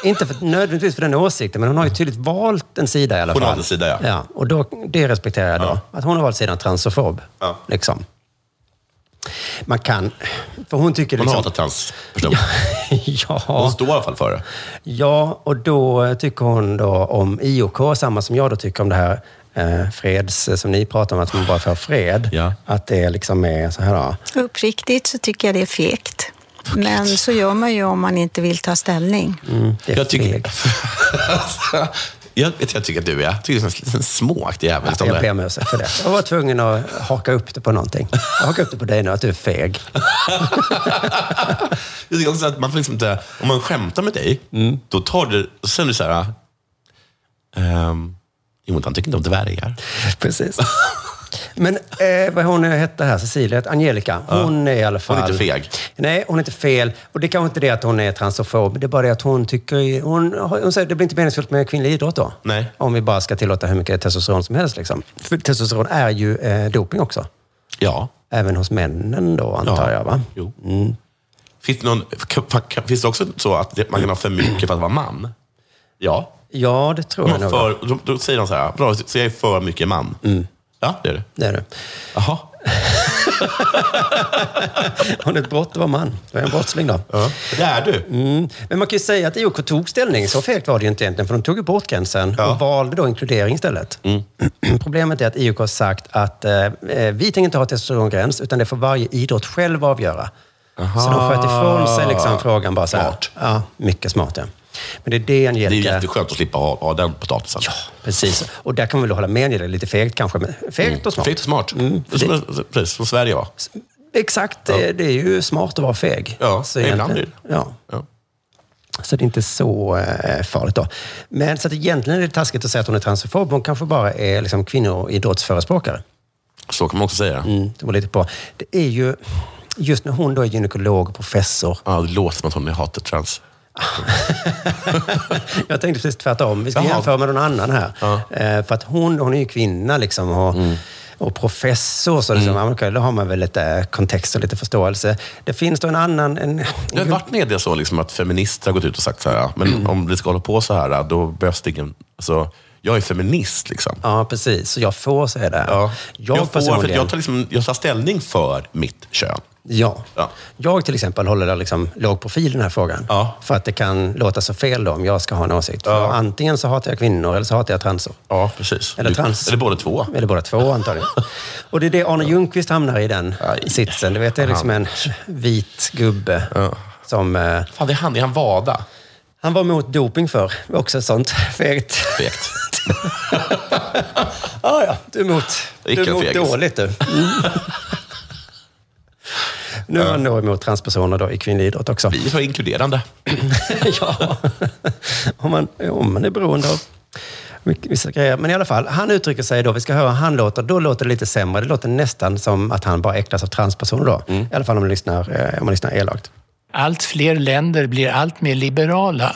[SPEAKER 3] Inte för, nödvändigtvis för den åsikten, men hon har ju tydligt valt en sida i alla
[SPEAKER 4] Hon
[SPEAKER 3] fall.
[SPEAKER 4] har en sida, ja.
[SPEAKER 3] ja och då, det respekterar jag då. Att hon har valt sidan transofob. Liksom. Man kan... För hon tycker
[SPEAKER 4] Hon
[SPEAKER 3] liksom...
[SPEAKER 4] hatar transpersoner.
[SPEAKER 3] (laughs) ja.
[SPEAKER 4] Hon står i alla fall för det.
[SPEAKER 3] Ja, och då eh, tycker hon då om IOK, samma som jag då tycker om det här eh, freds, eh, som ni pratar om, att man bara får fred. Att det liksom är så här då.
[SPEAKER 15] Uppriktigt så tycker jag det är fegt. Men så gör man ju om man inte vill ta ställning.
[SPEAKER 4] jag, tycker, (laughs) jag, vet, jag tycker att du är. Jag tycker det är en liten småaktig jävel.
[SPEAKER 3] Att jag ber om ursäkt för det. Jag var tvungen att haka upp det på någonting. Jag hakar upp det på dig nu, att du är feg.
[SPEAKER 4] Jag tycker också att man får liksom inte, om man skämtar med dig,
[SPEAKER 3] Mm.
[SPEAKER 4] då tar du, och sen är du så här, ehm, jo men han tycker inte om dvärgar.
[SPEAKER 3] Precis. Men eh, vad hon nu hette här, Cecilia, Angelica, hon är i alla fall...
[SPEAKER 4] Hon är inte feg.
[SPEAKER 3] Nej, hon är inte fel. Och det är kanske inte det att hon är transofob. Det är bara det att hon tycker... Hon, hon säger att det blir inte meningsfullt med kvinnlig idrott då.
[SPEAKER 4] Nej.
[SPEAKER 3] Om vi bara ska tillåta hur mycket testosteron som helst. Liksom. För testosteron är ju eh, doping också.
[SPEAKER 4] Ja.
[SPEAKER 3] Även hos männen då, antar jag. Va? Mm.
[SPEAKER 4] Jo. Finns, det någon, kan- kan- finns det också så att det, man kan ha för mycket för att vara man? Ja.
[SPEAKER 3] Ja, det tror jag
[SPEAKER 4] Man
[SPEAKER 3] nog.
[SPEAKER 4] för, då, då säger de så här, bra, så jag är för mycket man.
[SPEAKER 3] Mm.
[SPEAKER 4] Ja, det är du.
[SPEAKER 3] Det är du.
[SPEAKER 4] Jaha.
[SPEAKER 3] Har du ett brott att vara man, då är jag en brottsling då. Ja,
[SPEAKER 4] det är du.
[SPEAKER 3] Mm. Men man kan ju säga att IOK tog ställning. Så fegt var det ju inte egentligen, för de tog ju bort gränsen och valde då inkludering istället.
[SPEAKER 4] Mm.
[SPEAKER 3] (clears throat) Problemet är att IOK har sagt att eh, eh, vi tänker inte ha testosterongräns, utan det får varje idrott själv avgöra. Så de sköt ifrån sig liksom frågan bara så här. Smart. Ja, mycket smart ja. Men det är det
[SPEAKER 4] Det är ju
[SPEAKER 3] Angelica...
[SPEAKER 4] jätteskönt att slippa ha, ha den potatisen. Ja,
[SPEAKER 3] precis. Och där kan man väl hålla med Angelica, lite fegt kanske, men fegt och smart.
[SPEAKER 4] Mm.
[SPEAKER 3] Mm.
[SPEAKER 4] Fegt och smart. Som, precis, som Sverige var.
[SPEAKER 3] Exakt, eh, det, det är ju smart att vara feg.
[SPEAKER 4] Ja, ibland
[SPEAKER 3] egentligen-
[SPEAKER 4] blir
[SPEAKER 3] ja. Så det är inte så eh, farligt då. Men så att egentligen är det taskigt att säga att hon är transfob. Hon kanske bara är liksom kvinnoidrottsförespråkare.
[SPEAKER 4] Så kan man också säga.
[SPEAKER 3] Mm, det var lite bra. Det är ju, just när hon då är gynekolog och professor.
[SPEAKER 4] Ja, det låter som att hon hatar trans.
[SPEAKER 3] Jag tänkte precis tvärtom. Vi ska
[SPEAKER 16] Jaha.
[SPEAKER 3] jämföra med någon annan här. Eh, För att hon, hon är ju kvinna liksom och,
[SPEAKER 4] Mm.
[SPEAKER 3] och professor, så liksom, mm. då har man väl lite kontext och lite förståelse. Det finns då en annan... En,
[SPEAKER 4] Det har
[SPEAKER 3] Mm.
[SPEAKER 4] varit media så liksom, att feminister har gått ut och sagt så här, "Ja, men om vi ska hålla på så här, då behövs det ingen... Alltså, jag är feminist liksom.
[SPEAKER 3] Ja, precis. Så jag får säga det. Ja.
[SPEAKER 4] Jag, får, för att
[SPEAKER 3] personligen-
[SPEAKER 4] jag, tar liksom, jag tar ställning för mitt kön.
[SPEAKER 3] Ja. Jag till exempel håller där liksom låg profil i den här frågan. För att det kan låta så fel då om jag ska ha en åsikt. För Antingen så hatar jag kvinnor eller så hatar jag transor.
[SPEAKER 4] Ja, precis.
[SPEAKER 3] Eller trans.
[SPEAKER 4] Eller båda två.
[SPEAKER 3] Eller båda två antagligen. Och det är det Arne Ljungqvist hamnar i den sitsen. Du vet, det är liksom en vit gubbe som... eh,
[SPEAKER 4] Fan, det är han. Är han Vada?
[SPEAKER 3] Han var mot doping för Också ett sånt (laughs) fegt. (laughs)
[SPEAKER 4] Fegt.
[SPEAKER 3] ah, ja, du är emot, du är
[SPEAKER 4] Vilken
[SPEAKER 3] emot
[SPEAKER 4] fegis.
[SPEAKER 3] dåligt
[SPEAKER 4] (laughs)
[SPEAKER 3] du. Nu är han då emot transpersoner då i kvinnlig idrott också.
[SPEAKER 4] Vi är så inkluderande.
[SPEAKER 3] ja, om man, om man är beroende av mycket- vissa grejer. Men i alla fall, han uttrycker sig då, vi ska höra hur han låter, då låter det lite sämre. Det låter nästan som att han bara äcklas av transpersoner då.
[SPEAKER 17] Mm.
[SPEAKER 3] I alla fall om man lyssnar, eh, om man lyssnar elakt.
[SPEAKER 17] Allt fler länder blir allt mer liberala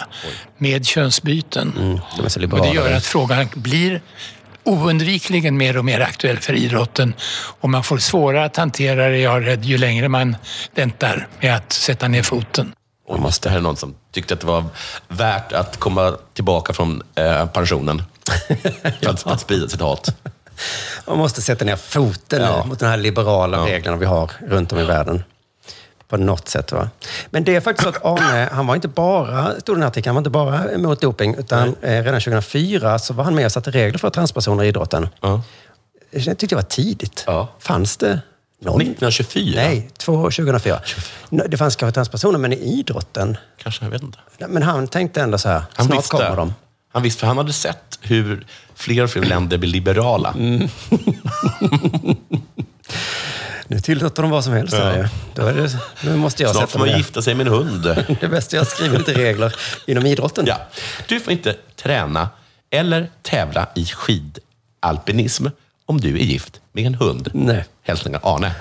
[SPEAKER 17] med könsbyten.
[SPEAKER 12] Mm.
[SPEAKER 3] De är så
[SPEAKER 17] Och
[SPEAKER 3] liberala.
[SPEAKER 17] det gör att frågan blir oundvikligen mer och mer aktuell för idrotten. Och man får svårare att hantera det, jag är rädd, ju längre man väntar med att sätta ner foten.
[SPEAKER 4] Och måste här är någon som tyckte att det var värt att komma tillbaka från eh, pensionen.
[SPEAKER 3] (laughs)
[SPEAKER 4] För att, för att sprida sitt hat.
[SPEAKER 3] Man måste sätta ner foten nu mot de här liberala reglerna vi har runt om i världen. På något sätt. va? Men det är faktiskt så att Arne, han var inte bara, stod i den här artikeln, han var inte bara emot doping, utan eh, redan 2004 så var han med och satte regler för transpersoner i idrotten. Det tyckte jag var tidigt. Fanns det någon?
[SPEAKER 4] 1924?
[SPEAKER 3] Nej, två- 2004. Det fanns kanske transpersoner, men i idrotten?
[SPEAKER 4] Kanske, jag vet inte.
[SPEAKER 3] Men han tänkte ändå så här,
[SPEAKER 4] Han
[SPEAKER 3] snart
[SPEAKER 4] visste.
[SPEAKER 3] kommer de.
[SPEAKER 4] Han visste, för han hade sett hur fler och fler länder blir liberala.
[SPEAKER 3] Mm, Nu tillåter de vad som helst. här ju. Då är det, nu måste jag
[SPEAKER 4] Snart
[SPEAKER 3] sätta
[SPEAKER 4] får man
[SPEAKER 3] ner.
[SPEAKER 4] gifta sig med en hund.
[SPEAKER 3] (laughs) Det är bäst jag skriver lite regler inom idrotten.
[SPEAKER 4] Ja. Du får inte träna eller tävla i skidalpinism om du är gift med en hund.
[SPEAKER 3] Nej.
[SPEAKER 4] Hälsningar Arne.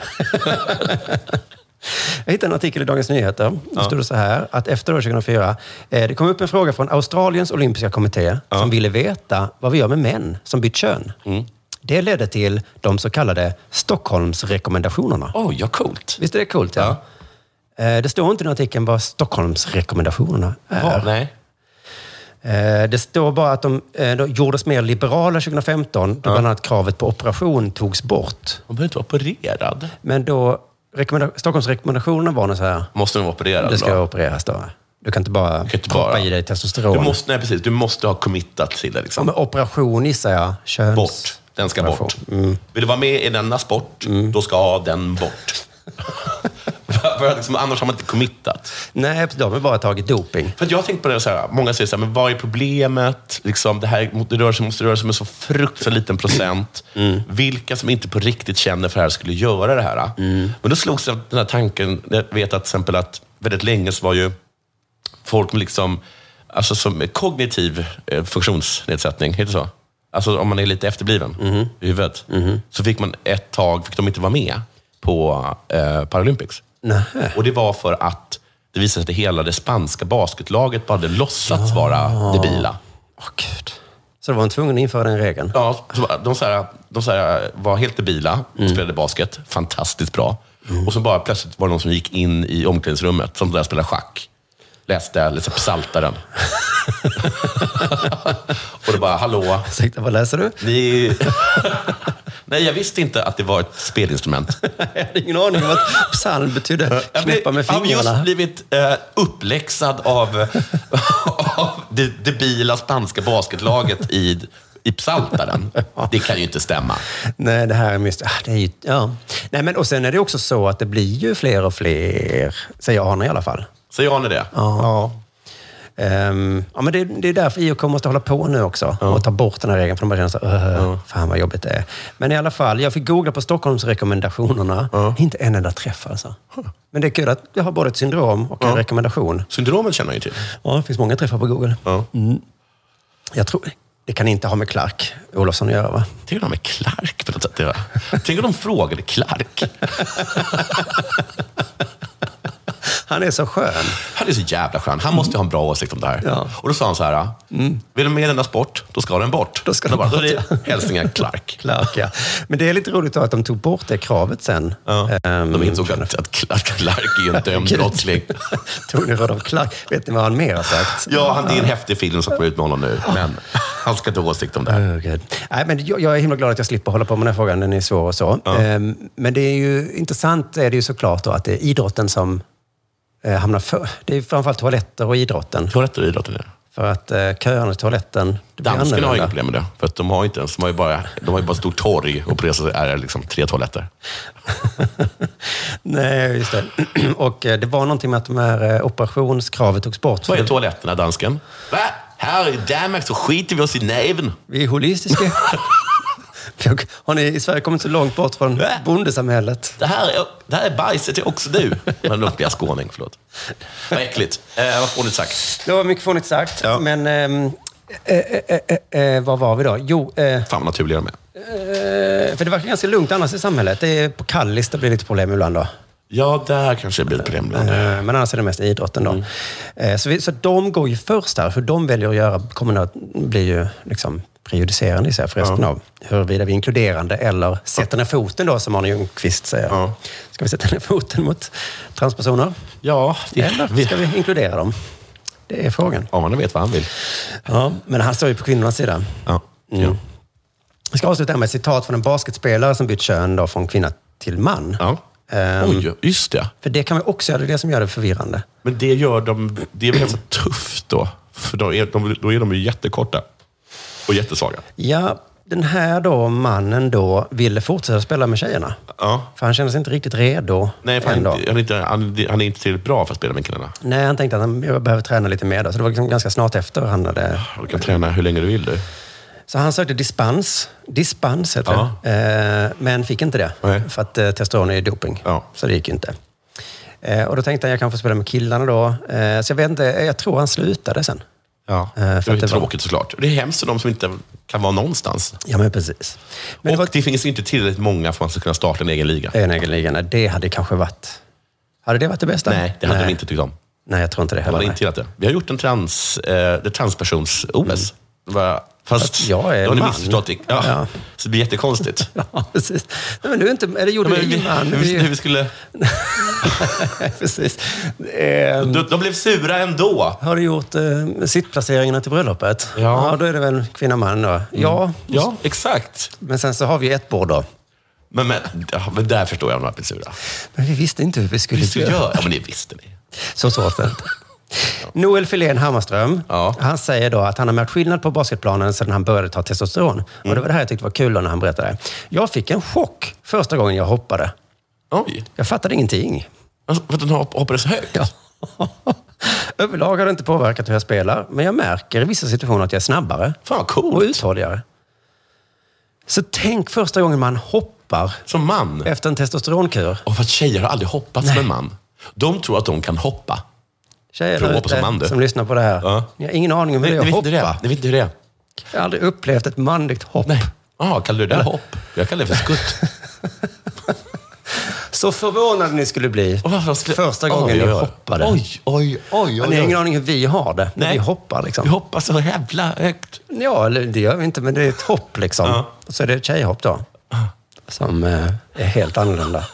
[SPEAKER 3] Jag hittade en artikel i Dagens Nyheter. Då stod det så här att efter år 2004, eh, det kom upp en fråga från Australiens olympiska kommitté som ville veta vad vi gör med män som bytt kön.
[SPEAKER 4] Mm.
[SPEAKER 3] Det ledde till de så kallade Stockholmsrekommendationerna.
[SPEAKER 4] Oj, ja coolt.
[SPEAKER 3] Visst är det coolt? Ja. Eh, Det står inte i den artikeln vad Stockholmsrekommendationerna är.
[SPEAKER 4] Ja, nej.
[SPEAKER 3] Eh, Det står bara att de, eh, de gjordes mer liberala 2015, då bland annat kravet på operation togs bort.
[SPEAKER 4] Man behöver inte vara opererad.
[SPEAKER 3] Men då, rekommenda- Stockholmsrekommendationen var nog så här,
[SPEAKER 4] Måste du vara opererad
[SPEAKER 3] du ska
[SPEAKER 4] då?
[SPEAKER 3] opereras då. Du kan inte bara proppa
[SPEAKER 4] bara.
[SPEAKER 3] i dig testosteron.
[SPEAKER 4] Du måste, nej, precis, du måste ha committat till det.
[SPEAKER 3] Ja,
[SPEAKER 4] Liksom.
[SPEAKER 3] men operation gissar jag, köns...
[SPEAKER 4] Bort. Den ska bort.
[SPEAKER 3] Mm.
[SPEAKER 4] Vill du vara med i denna sport, då ska
[SPEAKER 3] (laughs)
[SPEAKER 4] den bort. (laughs) för, för, att liksom, annars har man inte committat.
[SPEAKER 3] Nej, de har bara tagit doping.
[SPEAKER 4] För att jag har tänkt på det så här, många säger så här, men vad är problemet? Liksom, det här mot- det rör sig, måste röra sig om en så fruktansvärt liten procent. Vilka som inte på riktigt känner för det här skulle göra det här. Men då slogs jag av den här tanken, jag vet att till exempel att väldigt länge så var ju folk med liksom, alltså som kognitiv eh, funktionsnedsättning, heter det så? Alltså om man är lite efterbliven i huvudet. Så fick man ett tag, fick de inte vara med på eh, Paralympics. Och det var för att det visade sig att hela det spanska basketlaget bara hade låtsats vara debila.
[SPEAKER 3] Så då var de tvungna att införa den regeln.
[SPEAKER 4] Ja, så bara- de, så här, de så här, var helt debila och
[SPEAKER 3] Mm.
[SPEAKER 4] spelade basket fantastiskt bra. Och så bara plötsligt var det någon som gick in i omklädningsrummet, som där spelade schack. Läste liksom Psaltaren. (laughs) och då bara, hallå?
[SPEAKER 3] Ursäkta, vad läser du? (laughs)
[SPEAKER 4] Ni... (laughs) Nej, jag visste inte att det var ett
[SPEAKER 3] (laughs)
[SPEAKER 4] spelinstrument.
[SPEAKER 3] Jag hade ingen aning om att psalm betydde knäppa med
[SPEAKER 4] Jag har just
[SPEAKER 3] fingrarna.
[SPEAKER 4] blivit eh, uppläxad av, (laughs) av det debila spanska basketlaget i,
[SPEAKER 3] (laughs)
[SPEAKER 4] i Psaltaren. Det kan ju inte stämma.
[SPEAKER 3] Nej, det här är mystiskt. Ah, det är ju, ja. Nej, men, och sen är det också så att det blir ju fler och fler, säger Arne i alla fall.
[SPEAKER 4] Säger Arne det?
[SPEAKER 3] Ja. Ehm, ja, men det, det är därför IOK måste hålla på nu också och ta bort den här regeln. För de bara känner så här, "Öh, fan vad jobbigt det är. Men i alla fall, jag fick googla på Stockholmsrekommendationerna. Inte en enda träff alltså. Men det är kul att jag har både ett syndrom och en rekommendation.
[SPEAKER 4] Syndromet känner jag ju till.
[SPEAKER 3] Ja, det finns många träffar på Google. Mm. Jag tror, det kan inte ha med Clark Olofsson att göra va? (laughs)
[SPEAKER 4] Det är med Clark på något sätt. det är- Tänk om de frågade Clark.
[SPEAKER 3] Han är så skön.
[SPEAKER 4] Han är så jävla skön. Han måste ju ha en bra åsikt om det här. Och då sa han så här, vill du med i denna sport, då ska den bort. Mm. Då ska den bort. Då är det hälsningar Clark.
[SPEAKER 3] Clark, ja. Men det är lite roligt då att de tog bort det kravet sen.
[SPEAKER 4] de insåg att, att Clark, Clark är ju (laughs) en dömd
[SPEAKER 3] Gud.
[SPEAKER 4] brottsling.
[SPEAKER 3] Tony Rodolf Clark, vet ni vad han mer har sagt?
[SPEAKER 4] Ja, han, det är en häftig film som kommer ut med honom nu, men han ska inte ha åsikt om det här.
[SPEAKER 3] Nej, men jag, jag är himla glad att jag slipper hålla på med den här frågan, den är svår och så. Ehm, Men det är ju intressant är det ju såklart då att det är idrotten som eh, hamnar för. Det är ju framförallt toaletter och idrotten.
[SPEAKER 4] Toaletter och idrotten, ja.
[SPEAKER 3] För att eh, köerna i toaletten... det blir
[SPEAKER 4] Danskarna har
[SPEAKER 3] annorlunda.
[SPEAKER 4] inga problem med det, för att de har inte ens, de har ju bara, de har ju bara ett stort torg och på det så är det liksom tre toaletter.
[SPEAKER 3] Nej, just det. (clears throat) Och eh, det var någonting med att de här eh, operationskravet togs bort.
[SPEAKER 4] Vad är toaletterna, dansken? Va? Här i Danmark så skiter vi oss i näven.
[SPEAKER 3] Vi är holistiska. (laughs) Har ni i Sverige kommit så långt bort från bondesamhället?
[SPEAKER 4] Det här, är, det här är bajset är också (laughs) du. Men nu blir jag skåning, förlåt. Vad äckligt. Eh, vad fånigt sagt.
[SPEAKER 3] Det var mycket fånigt sagt, men... ehm, eh, eh, eh, eh, vad var vi då? Jo, eh,
[SPEAKER 4] Fan vad naturliga de är.
[SPEAKER 3] eh, för det verkar ganska lugnt annars i samhället. Det är på Kallis det blir lite problem ibland då.
[SPEAKER 4] Ja, där kanske det blir ett problem. ibland.
[SPEAKER 3] Eh, Men annars är det mest idrotten då. Eh, Så, vi, så de går ju först där. Hur de väljer att göra kommer att bli ju liksom prejudicerande i sig för resten av huruvida vi är inkluderande eller sätter ner foten då, som Arne Ljungqvist säger. Ska vi sätta ner foten mot transpersoner?
[SPEAKER 4] Ja.
[SPEAKER 3] Eller ska vi inkludera dem? Det är frågan.
[SPEAKER 4] Ja, man vet vad han vill.
[SPEAKER 3] Ja, men han står ju på kvinnornas sida.
[SPEAKER 4] Ja.
[SPEAKER 3] Mm. Jag ska avsluta med ett citat från en basketspelare som bytt kön då, från kvinna till man.
[SPEAKER 4] Ja.
[SPEAKER 3] Ehm,
[SPEAKER 4] Oj, just det.
[SPEAKER 3] För det kan man också göra, det är det som gör det förvirrande.
[SPEAKER 4] Men det gör de, det är väl ganska tufft då? För då är de, då är de ju jättekorta och jättesvaga.
[SPEAKER 3] Ja, den här då mannen då ville fortsätta spela med tjejerna.
[SPEAKER 4] Ja.
[SPEAKER 3] För han kände sig inte riktigt redo.
[SPEAKER 4] Nej, för han,
[SPEAKER 3] ändå.
[SPEAKER 4] han, är inte, han, han är inte tillräckligt bra för att spela med killarna.
[SPEAKER 3] Nej, han tänkte att han jag behöver träna lite mer. Då. Så det var liksom ganska snart efter han hade...
[SPEAKER 4] Du kan träna hur länge du vill du.
[SPEAKER 3] Så han sökte dispens. Dispens heter
[SPEAKER 4] Ja.
[SPEAKER 3] det. Eh, Men fick inte det. För att eh, testosteron är ju doping. Så det gick ju inte. Eh, Och då tänkte han, jag kan få spela med killarna då. Eh, Så jag vet inte, jag tror han slutade sen.
[SPEAKER 4] Ja.
[SPEAKER 3] Eh, för
[SPEAKER 4] Det är
[SPEAKER 3] att det var-
[SPEAKER 4] tråkigt såklart. Det är hemskt för de som inte kan vara någonstans.
[SPEAKER 3] Ja, men precis.
[SPEAKER 4] och det, finns inte tillräckligt många för att man ska kunna starta en egen liga.
[SPEAKER 3] En egen liga, nej, det hade kanske varit... Hade det varit det bästa?
[SPEAKER 4] Nej, det hade de inte tyckt om.
[SPEAKER 3] Nej, jag tror inte det
[SPEAKER 4] De
[SPEAKER 3] heller.
[SPEAKER 4] hade
[SPEAKER 3] nej.
[SPEAKER 4] inte gillat det. Vi har gjort en trans, eh, det transpersons-OS. Det var- Fast
[SPEAKER 3] Mm. jag är
[SPEAKER 4] då har ni
[SPEAKER 3] man.
[SPEAKER 4] missförstått det. Ja.
[SPEAKER 3] Ja.
[SPEAKER 4] Så det
[SPEAKER 3] (laughs)
[SPEAKER 4] blir jättekonstigt.
[SPEAKER 3] (laughs) Ja, precis. Nej, men du är inte... Eller gjorde
[SPEAKER 4] Ja, men
[SPEAKER 3] vi
[SPEAKER 4] vi-
[SPEAKER 3] innan?
[SPEAKER 4] hur vi- hur (laughs) vi skulle...
[SPEAKER 3] (laughs) precis. Eh,
[SPEAKER 4] De, de blev sura ändå.
[SPEAKER 3] Har du gjort eh, sittplaceringarna till bröllopet?
[SPEAKER 4] Ja. Mm.
[SPEAKER 3] Då är det väl kvinna-man då? Ja.
[SPEAKER 4] Ja, exakt.
[SPEAKER 3] Men sen så har vi ett bord då.
[SPEAKER 4] Men, men, ja, men där förstår jag om de blev sura.
[SPEAKER 3] Men vi visste inte hur vi skulle
[SPEAKER 4] Visst du
[SPEAKER 3] göra.
[SPEAKER 4] gör? Ja, men det visste ni.
[SPEAKER 3] (laughs) Så svårt var det inte. Noel Filén Hammarström, han säger då att han har märkt skillnad på basketplanen sedan han började ta testosteron.
[SPEAKER 4] Mm.
[SPEAKER 3] Och det var det här jag tyckte var kul då när han berättade. Jag fick en chock första gången jag hoppade.
[SPEAKER 4] Oj.
[SPEAKER 3] Jag fattade
[SPEAKER 4] (laughs)
[SPEAKER 3] ingenting.
[SPEAKER 4] Alltså, för att den hop- hoppade så högt? Ja.
[SPEAKER 3] Överlag har det inte påverkat hur jag spelar, men jag märker i vissa situationer att jag är snabbare och uthålligare. Så tänk första gången man hoppar
[SPEAKER 4] Som man?
[SPEAKER 3] efter en testosteronkur.
[SPEAKER 4] Och för att tjejer har aldrig hoppat som en man. De tror att de kan hoppa.
[SPEAKER 3] Tjejer
[SPEAKER 4] Prova
[SPEAKER 3] där
[SPEAKER 4] på som man,
[SPEAKER 3] ute
[SPEAKER 4] du.
[SPEAKER 3] som lyssnar på det här, ni har ingen aning om hur
[SPEAKER 4] Ni-
[SPEAKER 3] det är
[SPEAKER 4] ni
[SPEAKER 3] att
[SPEAKER 4] vet inte det.
[SPEAKER 3] hoppa.
[SPEAKER 4] Ni vet inte hur det är.
[SPEAKER 3] Jag har aldrig upplevt ett manligt hopp.
[SPEAKER 4] Jaha, kallar du det där hopp? Jag kallar det för skutt.
[SPEAKER 3] (laughs) Så förvånade ni skulle bli första
[SPEAKER 4] Oj,
[SPEAKER 3] gången
[SPEAKER 4] oj,
[SPEAKER 3] ni
[SPEAKER 4] oj.
[SPEAKER 3] hoppade.
[SPEAKER 4] Oj, oj, oj.
[SPEAKER 3] Men ni har ingen aning hur vi har det när vi hoppar. Liksom. Vi
[SPEAKER 4] hoppar så jävla högt.
[SPEAKER 3] Ja, eller det gör vi inte, men det är ett hopp liksom. Och så är det ett tjejhopp då.
[SPEAKER 4] Ah.
[SPEAKER 3] Som eh, är helt annorlunda.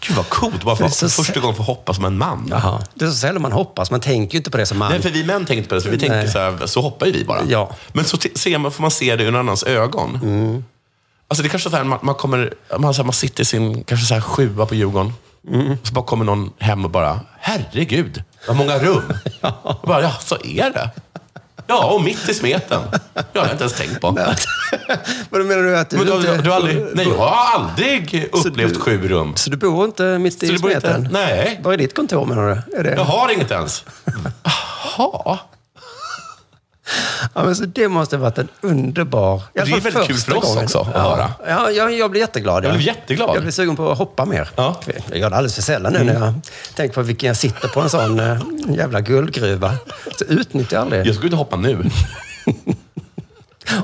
[SPEAKER 4] Gud vad coolt. Bara för,
[SPEAKER 3] Det är så
[SPEAKER 4] för första
[SPEAKER 3] sä-
[SPEAKER 4] gången få hoppa som en man.
[SPEAKER 3] Jaha. Det är så sällan man hoppas. Man tänker ju inte på det som man.
[SPEAKER 4] Nej, för vi män tänker inte på det. Så vi
[SPEAKER 3] Nej.
[SPEAKER 4] tänker så här, så hoppar ju vi bara.
[SPEAKER 3] Ja. Mm.
[SPEAKER 4] Men så t- ser man, får man se det ur någon annans ögon. Alltså det är kanske är så här, man, man, kommer, man, så här, man sitter i sin kanske så här, sjua på Djurgården.
[SPEAKER 3] Mm.
[SPEAKER 4] Och så bara kommer någon hem och bara, herregud, vad
[SPEAKER 3] (laughs)
[SPEAKER 4] många rum. Och bara, ja, så är det. Ja, och mitt i smeten. Ja, det har jag inte ens tänkt på.
[SPEAKER 3] Vad menar du? Att du,
[SPEAKER 4] Men du, har-
[SPEAKER 3] inte...
[SPEAKER 4] du har aldrig, nej, jag har aldrig upplevt sju rum.
[SPEAKER 3] Så du bor inte mitt
[SPEAKER 4] Så
[SPEAKER 3] i
[SPEAKER 4] du bor inte-
[SPEAKER 3] smeten?
[SPEAKER 4] nej.
[SPEAKER 3] Var är ditt kontor menar du? Är det...
[SPEAKER 4] Jag har
[SPEAKER 3] (laughs)
[SPEAKER 4] inget ens.
[SPEAKER 3] Jaha. Ja, men så det måste ha varit en underbar...
[SPEAKER 4] det är
[SPEAKER 3] I alla fall
[SPEAKER 4] väldigt kul
[SPEAKER 3] första
[SPEAKER 4] för oss också att
[SPEAKER 3] ja.
[SPEAKER 4] höra.
[SPEAKER 3] Ja, jag, jag blir jätteglad.
[SPEAKER 4] Jag
[SPEAKER 3] ja.
[SPEAKER 4] blev jätteglad.
[SPEAKER 3] Jag blir sugen på att hoppa mer. Jag gör det alldeles för sällan nu när jag tänker på vilken jag sitter på en sån eh, jävla guldgruva. Så utnyttjar jag aldrig.
[SPEAKER 4] Jag skulle inte hoppa nu.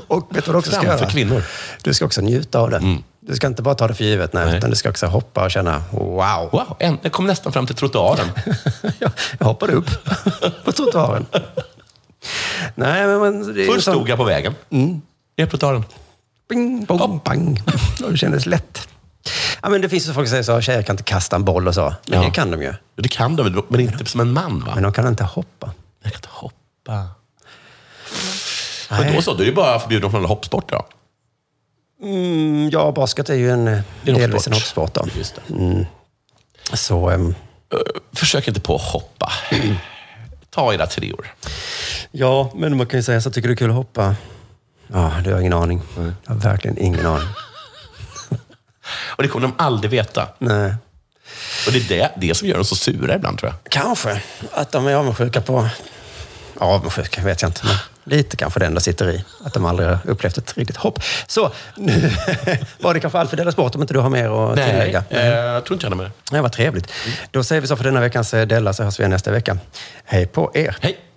[SPEAKER 3] Och vet du vad du också ska
[SPEAKER 4] Framför
[SPEAKER 3] göra?
[SPEAKER 4] kvinnor. Mm.
[SPEAKER 3] Du ska också njuta av det. Du ska inte bara ta det för givet, nej, utan du ska också hoppa och känna wow.
[SPEAKER 4] Wow, en, jag kom nästan fram till trottoaren.
[SPEAKER 3] jag hoppade upp (laughs) på trottoaren. nej, men, men, det är
[SPEAKER 4] Först
[SPEAKER 3] sån-
[SPEAKER 4] stod jag på vägen.
[SPEAKER 3] Mm.
[SPEAKER 4] Jag på trottoaren.
[SPEAKER 3] Bing, bong, bang. Det kändes lätt. Ja, men det finns ju folk som säger så, tjejer kan inte kasta en boll och så. Men
[SPEAKER 4] Ja.
[SPEAKER 3] det kan de ju.
[SPEAKER 4] Det kan de, men inte som en man va?
[SPEAKER 3] Men de kan inte hoppa.
[SPEAKER 4] Jag kan inte hoppa. Men då så, då är det bara förbjuden från alla hoppsporter då.
[SPEAKER 3] Mm, ja, basket är ju en,
[SPEAKER 4] Det är en
[SPEAKER 3] delvis en
[SPEAKER 4] hoppsport.
[SPEAKER 3] hoppsport. Då.
[SPEAKER 4] Just det. Eh,
[SPEAKER 3] Mm. Så, ehm,
[SPEAKER 4] Försök inte på att hoppa.
[SPEAKER 3] Mm.
[SPEAKER 4] Ta era tre år.
[SPEAKER 3] ja, men man kan ju säga så, tycker du det är kul att hoppa? Ja, du har ingen aning. Jag har verkligen ingen aning.
[SPEAKER 4] Och det kommer de aldrig veta.
[SPEAKER 3] Nej.
[SPEAKER 4] Och det är det, det som gör dem så sura ibland tror jag.
[SPEAKER 3] Kanske att de är avundsjuka på... Ja, Avundsjuka vet jag inte, men lite kanske det ändå sitter i. Att de aldrig har upplevt ett riktigt hopp. Så, nu (laughs) var det kanske allt för Della Sport om inte du har mer att tillägga. Mm.
[SPEAKER 4] eh, jag tror inte jag har mer.
[SPEAKER 3] Ja, vad trevligt. Då säger vi så för denna veckans eh, Della, så hörs vi igen nästa vecka. Hej på er!
[SPEAKER 4] Hej!